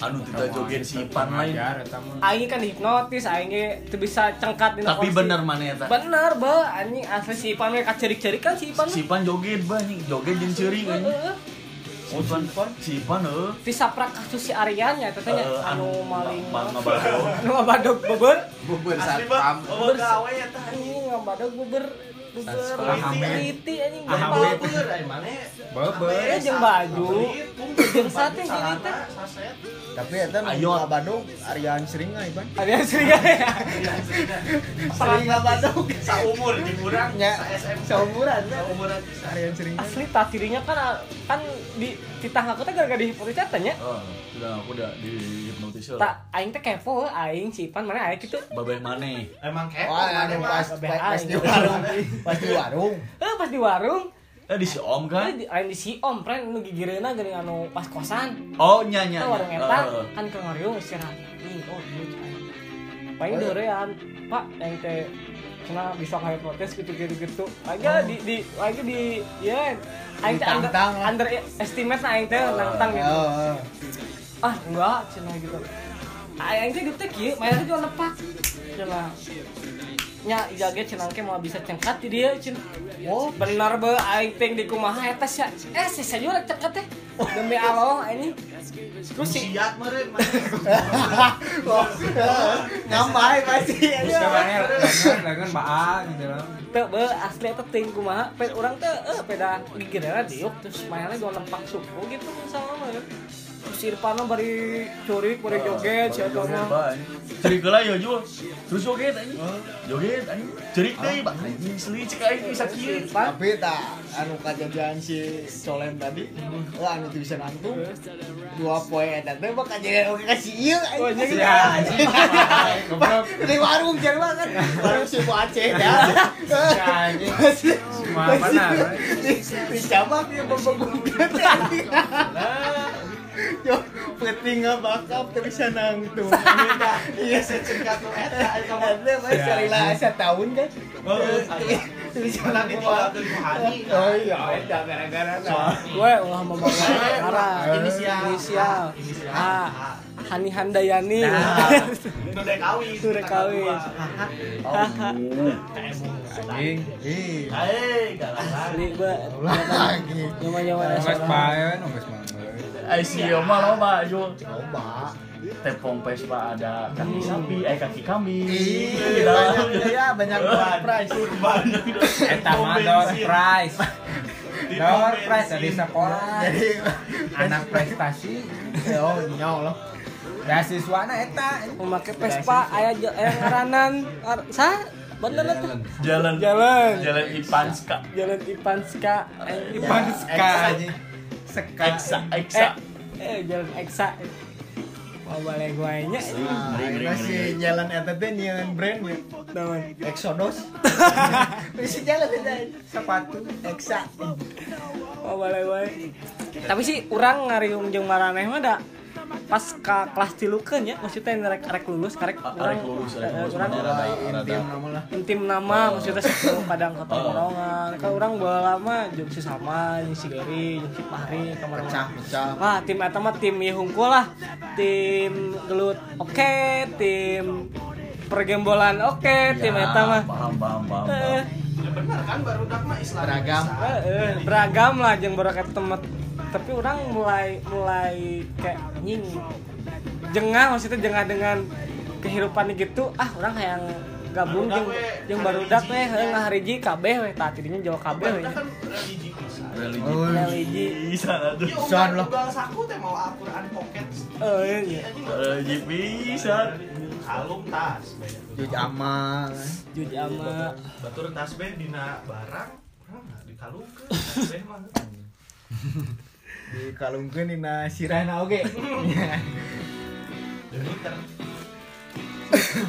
Speaker 6: Anu kita joget si Ipan lain.
Speaker 4: Ajar, eta mah.
Speaker 1: Aing kan hipnotis, aing tuh bisa cengkat di
Speaker 6: Tapi
Speaker 1: kursi.
Speaker 6: bener mana ya ta?
Speaker 1: Bener ba, anjing asli si Ipan mereka cerik-cerik kan si Ipan.
Speaker 6: Si Ipan joget banyak, joget jeung ceuring
Speaker 1: Eh,
Speaker 6: anjing.
Speaker 1: eh, eh.
Speaker 6: Oh, si Ipan, si Ipan heuh.
Speaker 1: Ti saprak kasus si Aryan ya tetenya
Speaker 6: Eh,
Speaker 1: anu maling.
Speaker 6: ma- ma- ngabado.
Speaker 1: Anu ngabadog beber.
Speaker 7: bubur
Speaker 3: Asli bang,
Speaker 7: satpam
Speaker 3: oh gawe ya tah.
Speaker 1: Anjing ngabadog beber. Beber.
Speaker 4: Ahmed.
Speaker 1: Liti anjing
Speaker 3: Ahmed
Speaker 1: bapak.
Speaker 3: beur ai mana?
Speaker 4: Beber.
Speaker 1: Eh, jeung baju. Jeung sate, jeung eta.
Speaker 3: Saset.
Speaker 2: tapi eta nu
Speaker 6: Ayo.
Speaker 2: ka Bandung Aryan sering nggak Iban
Speaker 1: Ada curiga ya.
Speaker 2: sering nggak Bandung
Speaker 3: Saumur jeung urang,
Speaker 2: Nya.
Speaker 3: sa SM.
Speaker 2: seumuran teh.
Speaker 3: Saumuran pisan.
Speaker 2: Aryan sering nggak?
Speaker 1: Asli tak dirinya kan kan di titah aku teh gara-gara dihipnotis katanya.
Speaker 6: Oh, udah aku udah di hipnotis eh.
Speaker 1: Tak aing teh kepo aing si Ipan mana aing gitu.
Speaker 6: Babai maneh.
Speaker 3: Emang kepo
Speaker 2: wah
Speaker 3: mana
Speaker 2: anu
Speaker 3: mah.
Speaker 2: pas pas di warung pas di warung
Speaker 1: Eh pas di warung,
Speaker 6: Eh di si
Speaker 1: eh,
Speaker 6: Om kan?
Speaker 1: di- lain di si Om, pren nu gigireuna geuning anu pas kosan.
Speaker 6: Oh, nyanyi.
Speaker 1: Tah warung eta
Speaker 6: Oh. Eh,
Speaker 1: kan ke ngoriung istirahat. Ih, oh ieu cai. Paling deurean, Pak, yang teh cenah bisa kayak protes gitu-gitu-gitu. Aja di di lagi di ya aing teh under,
Speaker 2: Ditantang.
Speaker 1: underestimate na aing teh
Speaker 6: Oh.
Speaker 1: nantang gitu.
Speaker 2: Oh,
Speaker 1: ah enggak cina gitu ayang teh getek ya mainnya juga lepak cina nya jaga cina ke mau bisa cengkat di dia cina oh benar be aing ting di kumaha eta sia eh si sayur cengkat teh demi Allah ini terus si
Speaker 3: Siat meureun mah.
Speaker 2: ngamai pasti
Speaker 4: Bisa mana denger denger baa gitu lah.
Speaker 1: teu be asli eta ting kumaha pe urang teh eh peda gigireuna diuk terus mainnya juga lepak suku gitu misalnya mah ya. terus si Irfana bari
Speaker 6: eh,
Speaker 1: curik bari joget siapa mah Eh.
Speaker 6: Cari ke lah yo Jul. Terus joget eh, aja. Joget Kaget anjing. Jerik deui bak anjing seuli cek aing bisa kieu.
Speaker 2: tapi tak anu kejadian si Solem tadi lah anu tulisan antum dua poin eta teh mah kejadian oke kasih ieu anjing
Speaker 4: Ya, anjing. Goblok.
Speaker 2: di warung jar banget warung si Bu Aceh ya
Speaker 4: Ya, anjing. Semua mana?
Speaker 2: di di cabang dia bebegugat yo peting bakap terus sanang tuh iya saya cerita tuh eta eta mah
Speaker 4: Ya.
Speaker 2: sarila asa tahun kan terus sanang
Speaker 3: Nanti
Speaker 2: itu
Speaker 3: tinggal ke Rohani.
Speaker 2: oh iya eta gara-gara nah.
Speaker 1: Gue ulah mau bawa Ara.
Speaker 3: Inisial.
Speaker 1: Inisial.
Speaker 3: Inisial.
Speaker 1: A. Ah, Hani Handayani.
Speaker 3: Itu dek kawin.
Speaker 1: Itu dek kawin.
Speaker 6: Eh,
Speaker 4: Anjing.
Speaker 2: Ih,
Speaker 3: Hei, galak.
Speaker 1: Ini gue
Speaker 2: lagi
Speaker 1: nyaman-nyaman
Speaker 4: Nongges
Speaker 1: asal.
Speaker 4: paen, nongges manggel.
Speaker 6: Ai Eh, si ieu mah loba jeung
Speaker 2: coba
Speaker 6: tepong Vespa ada kaki
Speaker 1: Hmm.
Speaker 6: sapi, eh kaki kambing.
Speaker 1: Iya.
Speaker 6: Gitu.
Speaker 2: Ih,
Speaker 6: Dalam.
Speaker 2: banyak ya, banyak price. Oh,
Speaker 3: Kurban.
Speaker 4: Eta mah door prize. Door prize dari sekolah.
Speaker 2: Jadi
Speaker 4: Anak prestasi.
Speaker 2: oh nyol loh.
Speaker 4: Beasiswana eta.
Speaker 1: Memakai Vespa, ayah j- ayah ngaranan. Ar- Sa? Bener lah tuh.
Speaker 6: Jalan
Speaker 1: Jalan.
Speaker 6: Jalan Ipanska.
Speaker 1: Jalan Ipanska. Eh,
Speaker 4: Panska anjing. Seka.
Speaker 6: Eksa, eksa.
Speaker 1: Eh, eh, jalan Eksa. Mau balik gue nya.
Speaker 2: Nah, ini si jalan eta teh nyeun brand we.
Speaker 1: Teman.
Speaker 2: Exodus. Bisa jalan eta sepatu Exa.
Speaker 1: Oh, boleh boleh. Tapi sih orang ngariung jeung maraneh mah da pas ka kelas tilu kan ya maksudnya yang rek rek lulus karek Eh,
Speaker 6: Rek
Speaker 1: orang
Speaker 6: lulus, rek lulus,
Speaker 1: orang
Speaker 6: bener.
Speaker 2: Lah, intim nama lah.
Speaker 1: intim nama maksudnya sepuluh kadang ketemu orangan kan orang bola lama jeung si sama jeung si Gary jeung si Fahri kamar
Speaker 2: Pecah, pecah.
Speaker 1: Wah, tim eta mah tim Yehungkul lah. Tim gelut oke, tim pergembolan oke, tim
Speaker 6: Ya,
Speaker 1: eta mah.
Speaker 6: Paham, paham, paham.
Speaker 1: Eh,
Speaker 6: paham.
Speaker 3: Ya benar kan baru dak mah Islam.
Speaker 2: Beragam.
Speaker 1: Heeh, beragam lah jeung barokat temet tapi orang mulai mulai kayak nying jengah maksudnya jengah dengan kehidupan gitu ah orang yang gabung jeung jeung barudak weh heuh ngahariji kabeh weh tah tidinya jauh kabeh weh
Speaker 3: Barudak kan religi pisan.
Speaker 6: Religi.
Speaker 2: Oh,
Speaker 1: religi
Speaker 6: Pisan aduh.
Speaker 3: Iya,
Speaker 2: Pisan
Speaker 3: udah
Speaker 2: lah.
Speaker 3: ugal saku teh mau Al-Qur'an pocket.
Speaker 1: eh iya.
Speaker 6: Religi pisan.
Speaker 3: Kalung tas.
Speaker 2: Juj amal.
Speaker 1: juj ama
Speaker 3: Batur tas be dina barang. Nah, dikalungkeun. Tas be mah.
Speaker 2: Dikalungkeun dina sirahna oge.
Speaker 3: Demi ter.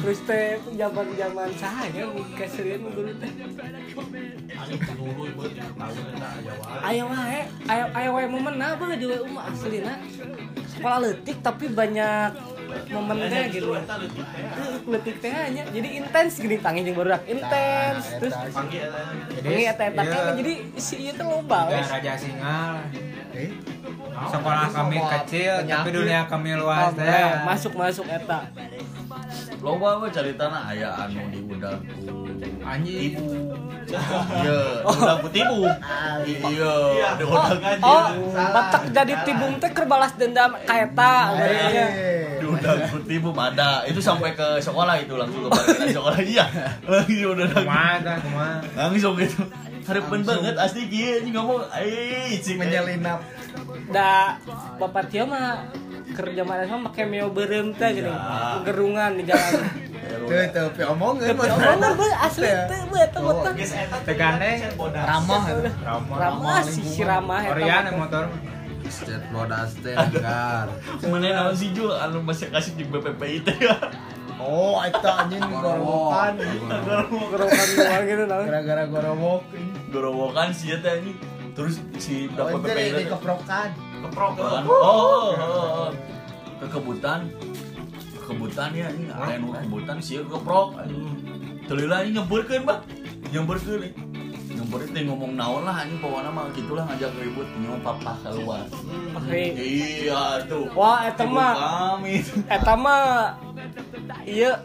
Speaker 1: terus teh zaman-zaman saha ya keserian dulu teh
Speaker 3: Ayo dulu ibu tahu eta Jawa.
Speaker 1: Ayo wae, ayo ayo wae momen apa di WU mah aslina. Sekolah leutik tapi banyak momennya gitu.
Speaker 3: Justru eta leutik teh.
Speaker 1: Leutik teh nya jadi intens gini tangi jeung barudak intens.
Speaker 2: Nah,
Speaker 1: Terus
Speaker 2: eta sih.
Speaker 3: Panggil eta.
Speaker 1: ini eta eta
Speaker 4: Iya.
Speaker 1: kan jadi si ieu teh loba
Speaker 4: Ya,
Speaker 1: wes.
Speaker 4: Raja Singal.
Speaker 2: Eh,
Speaker 4: Sekolah kami kecil, tapi dunia kami luas teh.
Speaker 1: Masuk masuk eta.
Speaker 6: Loba we caritana aya anu diundang ku
Speaker 4: Anjing.
Speaker 6: Iya, diundang ku tibu. Iya,
Speaker 3: Iya,
Speaker 6: diundang
Speaker 1: Ah, Oh, batak jadi tibung teh kerbalas dendam ka eta barinya.
Speaker 6: diundang ku tibu ada. Itu sampai ke sekolah itu langsung ke parkiran sekolah iya. Lagi udah
Speaker 4: Kumaha tah, kumaha.
Speaker 6: langsung gitu. Harapan banget asli kieu anjing ngomong ai cing
Speaker 2: menyelinap.
Speaker 1: Da bapak dia mah kerja mana sama pakai meo berem teh gini
Speaker 6: Ya.
Speaker 1: gerungan di jalan
Speaker 6: eh,
Speaker 2: Tuh, tuh, pi omongan.
Speaker 1: tapi omong gue asli teh gue eta
Speaker 4: Oh,
Speaker 1: botak
Speaker 3: Geus eta teh
Speaker 4: Tegandeng.
Speaker 3: can bodas.
Speaker 2: Ramah. eta.
Speaker 4: Ramon.
Speaker 1: Ramah sih si Ramah
Speaker 4: Orian motor.
Speaker 8: Cet bodas teh negar.
Speaker 6: Mana naon si Jul anu masih kasih di BPPIT ya.
Speaker 2: Oh, eta anjing gorowokan.
Speaker 1: gerokan doang gitu nah.
Speaker 2: Gara-gara gorowok.
Speaker 6: Gorowokan si eta anjing. Terus si
Speaker 2: Oh, jadi
Speaker 6: dapat BPPIT.
Speaker 2: dikeprokan.
Speaker 3: Keprok.
Speaker 6: Apaan? Oh, oh, oh. kekebutan kekebutan ya ini ada yang kekebutan sih keprok telila ini nyemburkeun bah nyemburkeun nyemburin teh ngomong naon lah ini bawa nama gitulah ngajak ribut nyawa papa keluar
Speaker 1: Oke.
Speaker 6: iya tuh
Speaker 1: Wah, eta
Speaker 6: Ibu
Speaker 1: mah.
Speaker 6: kami
Speaker 1: Eta mah iya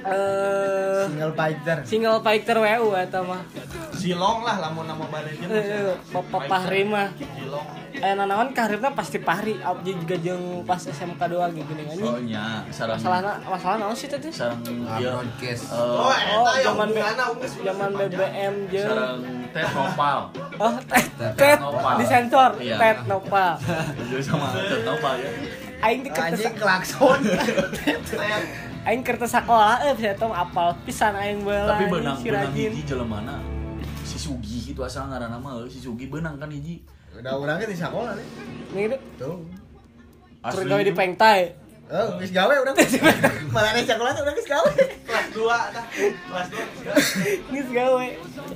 Speaker 1: eh
Speaker 2: Single fighter.
Speaker 1: single fighter WU eta mah.
Speaker 3: Silong lah lamun nama badannya. mah.
Speaker 1: Eh, Bapak Pahri mah.
Speaker 3: Silong.
Speaker 1: Eh nanaon karirna pasti Pahri abdi juga jeung pas SMK doang gitu nih anjing.
Speaker 6: soalnya sarang
Speaker 1: Masalahna masalah naon sih teh?
Speaker 6: sarang dia
Speaker 8: broadcast.
Speaker 6: eh,
Speaker 3: Oh, iya.
Speaker 1: Oh,
Speaker 3: eta yang
Speaker 1: zaman be-
Speaker 3: hubunganna geus
Speaker 1: Zaman BBM jeung
Speaker 6: sarang teh nopal
Speaker 1: oh tet tet
Speaker 6: Nopal.
Speaker 1: disensor
Speaker 6: Iya.
Speaker 1: tet nopal.
Speaker 6: Iya, sama teh nopal ya
Speaker 1: Aing teh
Speaker 2: Anjing
Speaker 1: ketes
Speaker 2: klakson.
Speaker 3: Tet.
Speaker 1: aing kertas sekolah eh bisa tong apal pisan aing bae
Speaker 6: tapi benang benang hiji jelemana si Sugi itu asal ngaranna mah si Sugi benang kan hiji
Speaker 2: udah orangnya di sekolah nih
Speaker 1: Ini
Speaker 2: tuh
Speaker 1: terus
Speaker 6: Asli
Speaker 1: gawe di
Speaker 6: itu.
Speaker 1: pengtai.
Speaker 2: eh geus gawe orang malah nih sekolah tuh orang geus gawe
Speaker 3: kelas dua tah kelas dua
Speaker 1: Ini gawe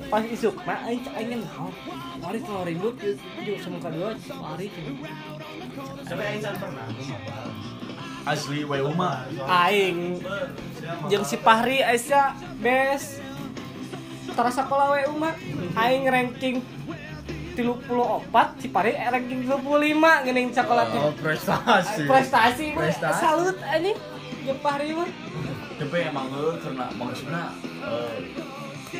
Speaker 1: pas isuk mah aing cek aing naon. Mari kalau ribut yuk semuka dua mari.
Speaker 3: tapi aing can pernah
Speaker 6: asli wae mah
Speaker 1: Aing jeung si Fahri Aisyah best terasa sekolah we umat aing ranking 34 si Fahri ranking 35 geuning sekolah teh.
Speaker 2: oh prestasi
Speaker 1: prestasi mah
Speaker 2: Prestasi.
Speaker 1: salut anjing jeung Fahri mah
Speaker 6: tapi emang eh, karena maksudnya eh,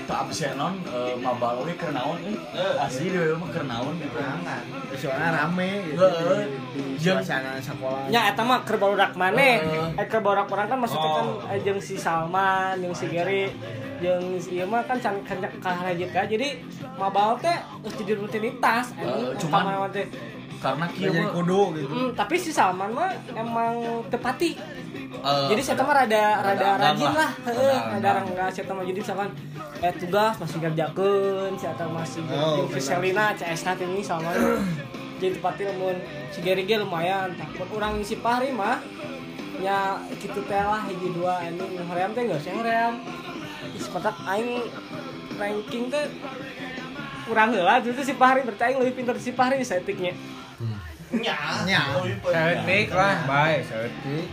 Speaker 6: tak bisa non eh, mabal we kernaon eh.
Speaker 3: Iya.
Speaker 6: asli dewe mah kernaon gitu
Speaker 2: soalnya rame gitu
Speaker 3: Iya,
Speaker 6: Heeh.
Speaker 2: di, di
Speaker 6: Jam-
Speaker 2: suasana sekolah
Speaker 1: nya eta mah keur barudak maneh
Speaker 6: Heeh. Oh.
Speaker 1: eh keur barudak orang kan maksudnya kan eh, jeung si Salman jeung si Gary jeung si ieu mah kan can kan kaharajeut ka jadi mabal teh geus jadi rutinitas anjing
Speaker 6: Eh, cuman-
Speaker 1: Kamana-mana teh.
Speaker 6: karena
Speaker 2: Nggak
Speaker 6: kieu
Speaker 2: jadi
Speaker 6: mah
Speaker 2: kudu gitu
Speaker 1: Mm, tapi si Salman mah emang tepati
Speaker 6: eh,
Speaker 1: jadi saya mah rada rada
Speaker 6: anggang
Speaker 1: rajin
Speaker 6: lah.
Speaker 1: lah heeh
Speaker 6: Rada
Speaker 1: rada enggak saya mah jadi misalkan eh tugas masih ngerjakeun si eta masih
Speaker 2: Oh,
Speaker 1: jeung si
Speaker 2: benar.
Speaker 1: Selina CS nanti ini sama jadi tepati lamun si Gary ge lumayan takut urang si Fahri mah nya kitu teh lah hiji dua ini hoream teh geus hoream geus petak aing ranking teh kurang heula itu si Fahri berarti aing leuwih pintar si Fahri settingnya
Speaker 3: nya
Speaker 2: Nya.
Speaker 3: Leuwih peuting.
Speaker 4: Setik lah, bye, setik.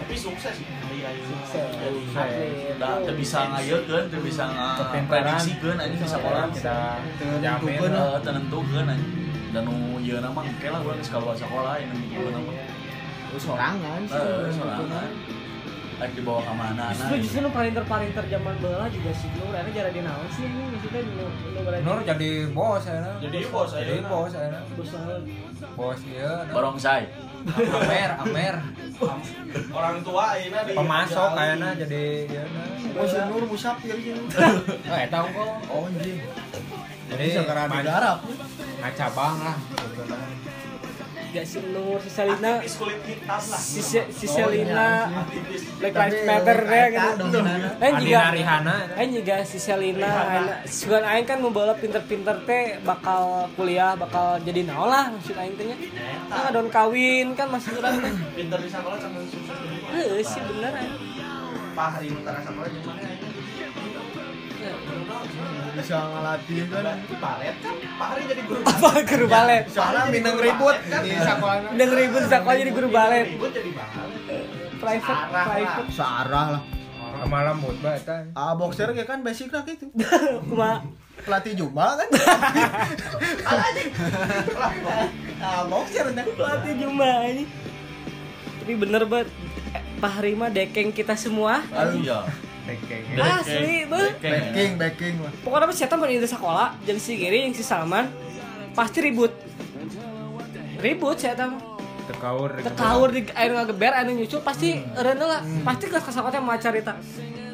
Speaker 3: tapi sukses iya iya
Speaker 4: iya.
Speaker 6: da teu bisa ngayeulkeun teu bisa ngaprediksi anjing di sekolah
Speaker 4: Kita jamin
Speaker 2: Tentukan.
Speaker 4: lah.
Speaker 6: Eh, tenentukeun anjing dan nu ieu nama engke lah urang geus kaluar sekolah ini ieu nama
Speaker 2: sorangan sih
Speaker 6: Eh, sorangan Lagi dibawa ke mana
Speaker 1: Justru justru nu parinter parinter zaman bala juga si Nur, karena jarang dinaon sih ini maksudnya nu nu berarti
Speaker 4: Nur jadi bos ayeuna.
Speaker 3: Jadi bos
Speaker 4: Jadi
Speaker 3: ayeuna.
Speaker 4: bos ayeuna.
Speaker 1: bosan.
Speaker 4: Bos ieu.
Speaker 6: Barongsai
Speaker 4: Amer, Amer.
Speaker 3: orang tua ayeuna di
Speaker 4: Pemasok
Speaker 3: di-
Speaker 4: ayeuna jadi ieuna.
Speaker 2: oh si Nur musafir sih
Speaker 4: Oh, eta engko.
Speaker 2: oh anjing
Speaker 4: Jadi
Speaker 2: bisa karena
Speaker 4: man-
Speaker 2: digarap
Speaker 4: ngacabang lah. gitu kan.
Speaker 1: Gak si Nur, si Selina,
Speaker 3: aktivis kulit hitam lah
Speaker 1: si Se- si Selina,
Speaker 3: aktivis
Speaker 1: Black Lives Matter deh gitu.
Speaker 2: Eh,
Speaker 1: Lain
Speaker 4: Adi
Speaker 1: juga,
Speaker 4: Narihana.
Speaker 1: lain juga si Selina, anak- sebagian Aing kan mau bala pinter-pinter teh bakal kuliah, bakal jadi naon lah maksud Aing tehnya. Nah, don kawin kan masih kurang.
Speaker 3: pinter di sekolah sama sukses di rumah.
Speaker 1: Heeh sih bener Aing.
Speaker 3: pak hari ini tara sekolah di mana ya? ayeuna? Guru dong,
Speaker 2: bisa ngelatih kan
Speaker 3: soalnya. Di paret kan pak hari jadi guru
Speaker 1: Apa guru balet?
Speaker 2: soalnya minang ribut di sekolah
Speaker 1: Udah ngeribut sekolah jadi guru balet.
Speaker 3: ribut jadi balet
Speaker 1: Private,
Speaker 3: Arah lah.
Speaker 1: private.
Speaker 2: searah lah
Speaker 4: Malam mood ba eta.
Speaker 2: ah boxer kayak kan basicnya gitu
Speaker 1: Kuma
Speaker 2: pelatih jumba kan ah boxer nih
Speaker 1: Pelatih Jumba ini. Tapi bener banget Eh, Pak Rima dekeng kita semua.
Speaker 6: Aduh ya
Speaker 4: Dekeng.
Speaker 1: Asli beuh.
Speaker 2: backing backing lah
Speaker 1: Pokoknya pas setan di sekolah, jeung si Giri, jeung si Salman pasti ribut. Ribut setan.
Speaker 4: Tekaur.
Speaker 1: Tekaur di air ngageber, air nyusul pasti rene lah. Pasti geus kasakotnya mah carita.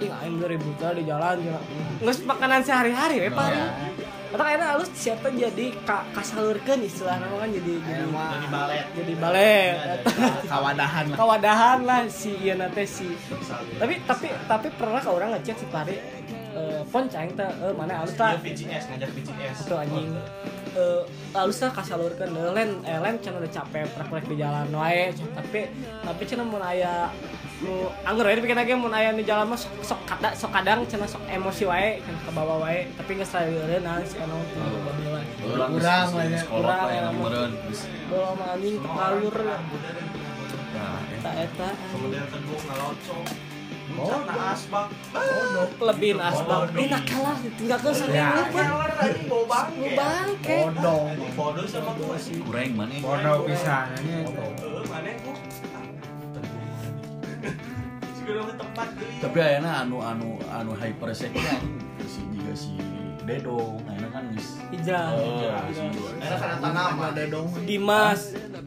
Speaker 1: Ing aing geus ribut lah di jalan jeung geus makanan sehari-hari we Pak Rima. Atau akhirnya halus siapa jadi ka, kasalurkeun istilahnya mah kan jadi jadi
Speaker 3: jadi balet
Speaker 1: jadi balet. Eta.
Speaker 2: kawadahan lah
Speaker 1: kawadahan lah si iya nate si
Speaker 3: gitu.
Speaker 1: tapi tapi tapi pernah ke orang ngechat si pare eh pon cang teh eh, mana alus
Speaker 3: dia
Speaker 1: tah
Speaker 3: VCS ngajak VCS
Speaker 1: itu anjing eh alus tah kasalurkeun eh, len eh, len can udah capek prek-prek di jalan wae can. tapi tapi can mun aya nu anggur wae dipikeun lagi mun aya di jalan mah sok, sok kada sok kadang can sok emosi wae can ke bawah wae tapi geus sadeureun naon si anu teh
Speaker 3: Oh.
Speaker 1: babila
Speaker 6: Orang
Speaker 2: Kurang
Speaker 6: kurang
Speaker 2: lah, ya.
Speaker 6: sekolah
Speaker 1: Kurang,
Speaker 6: lah yang
Speaker 1: ya.
Speaker 6: nomornya
Speaker 1: bola mah anjing tekalur
Speaker 6: eh,
Speaker 1: eta eta
Speaker 3: kemudian teguh ngalocok Bukan asbak,
Speaker 1: lebih asbab enak kalah tinggal ke
Speaker 3: Nah,
Speaker 1: sana
Speaker 3: keluar tadi bau bangke.
Speaker 1: bangke
Speaker 2: bodong
Speaker 3: Bodoh sama gue sih.
Speaker 6: Kurang mana
Speaker 4: Bodoh pisan anjing.
Speaker 3: Eh, mana gue? Segera ke tempat geli.
Speaker 6: Tapi ayana anu anu anu hypersek kan Si juga si Dedo Ayana kan geus
Speaker 1: Ijal
Speaker 6: Eh, si
Speaker 3: Karena karena tanam
Speaker 2: sama dedong
Speaker 1: Dimas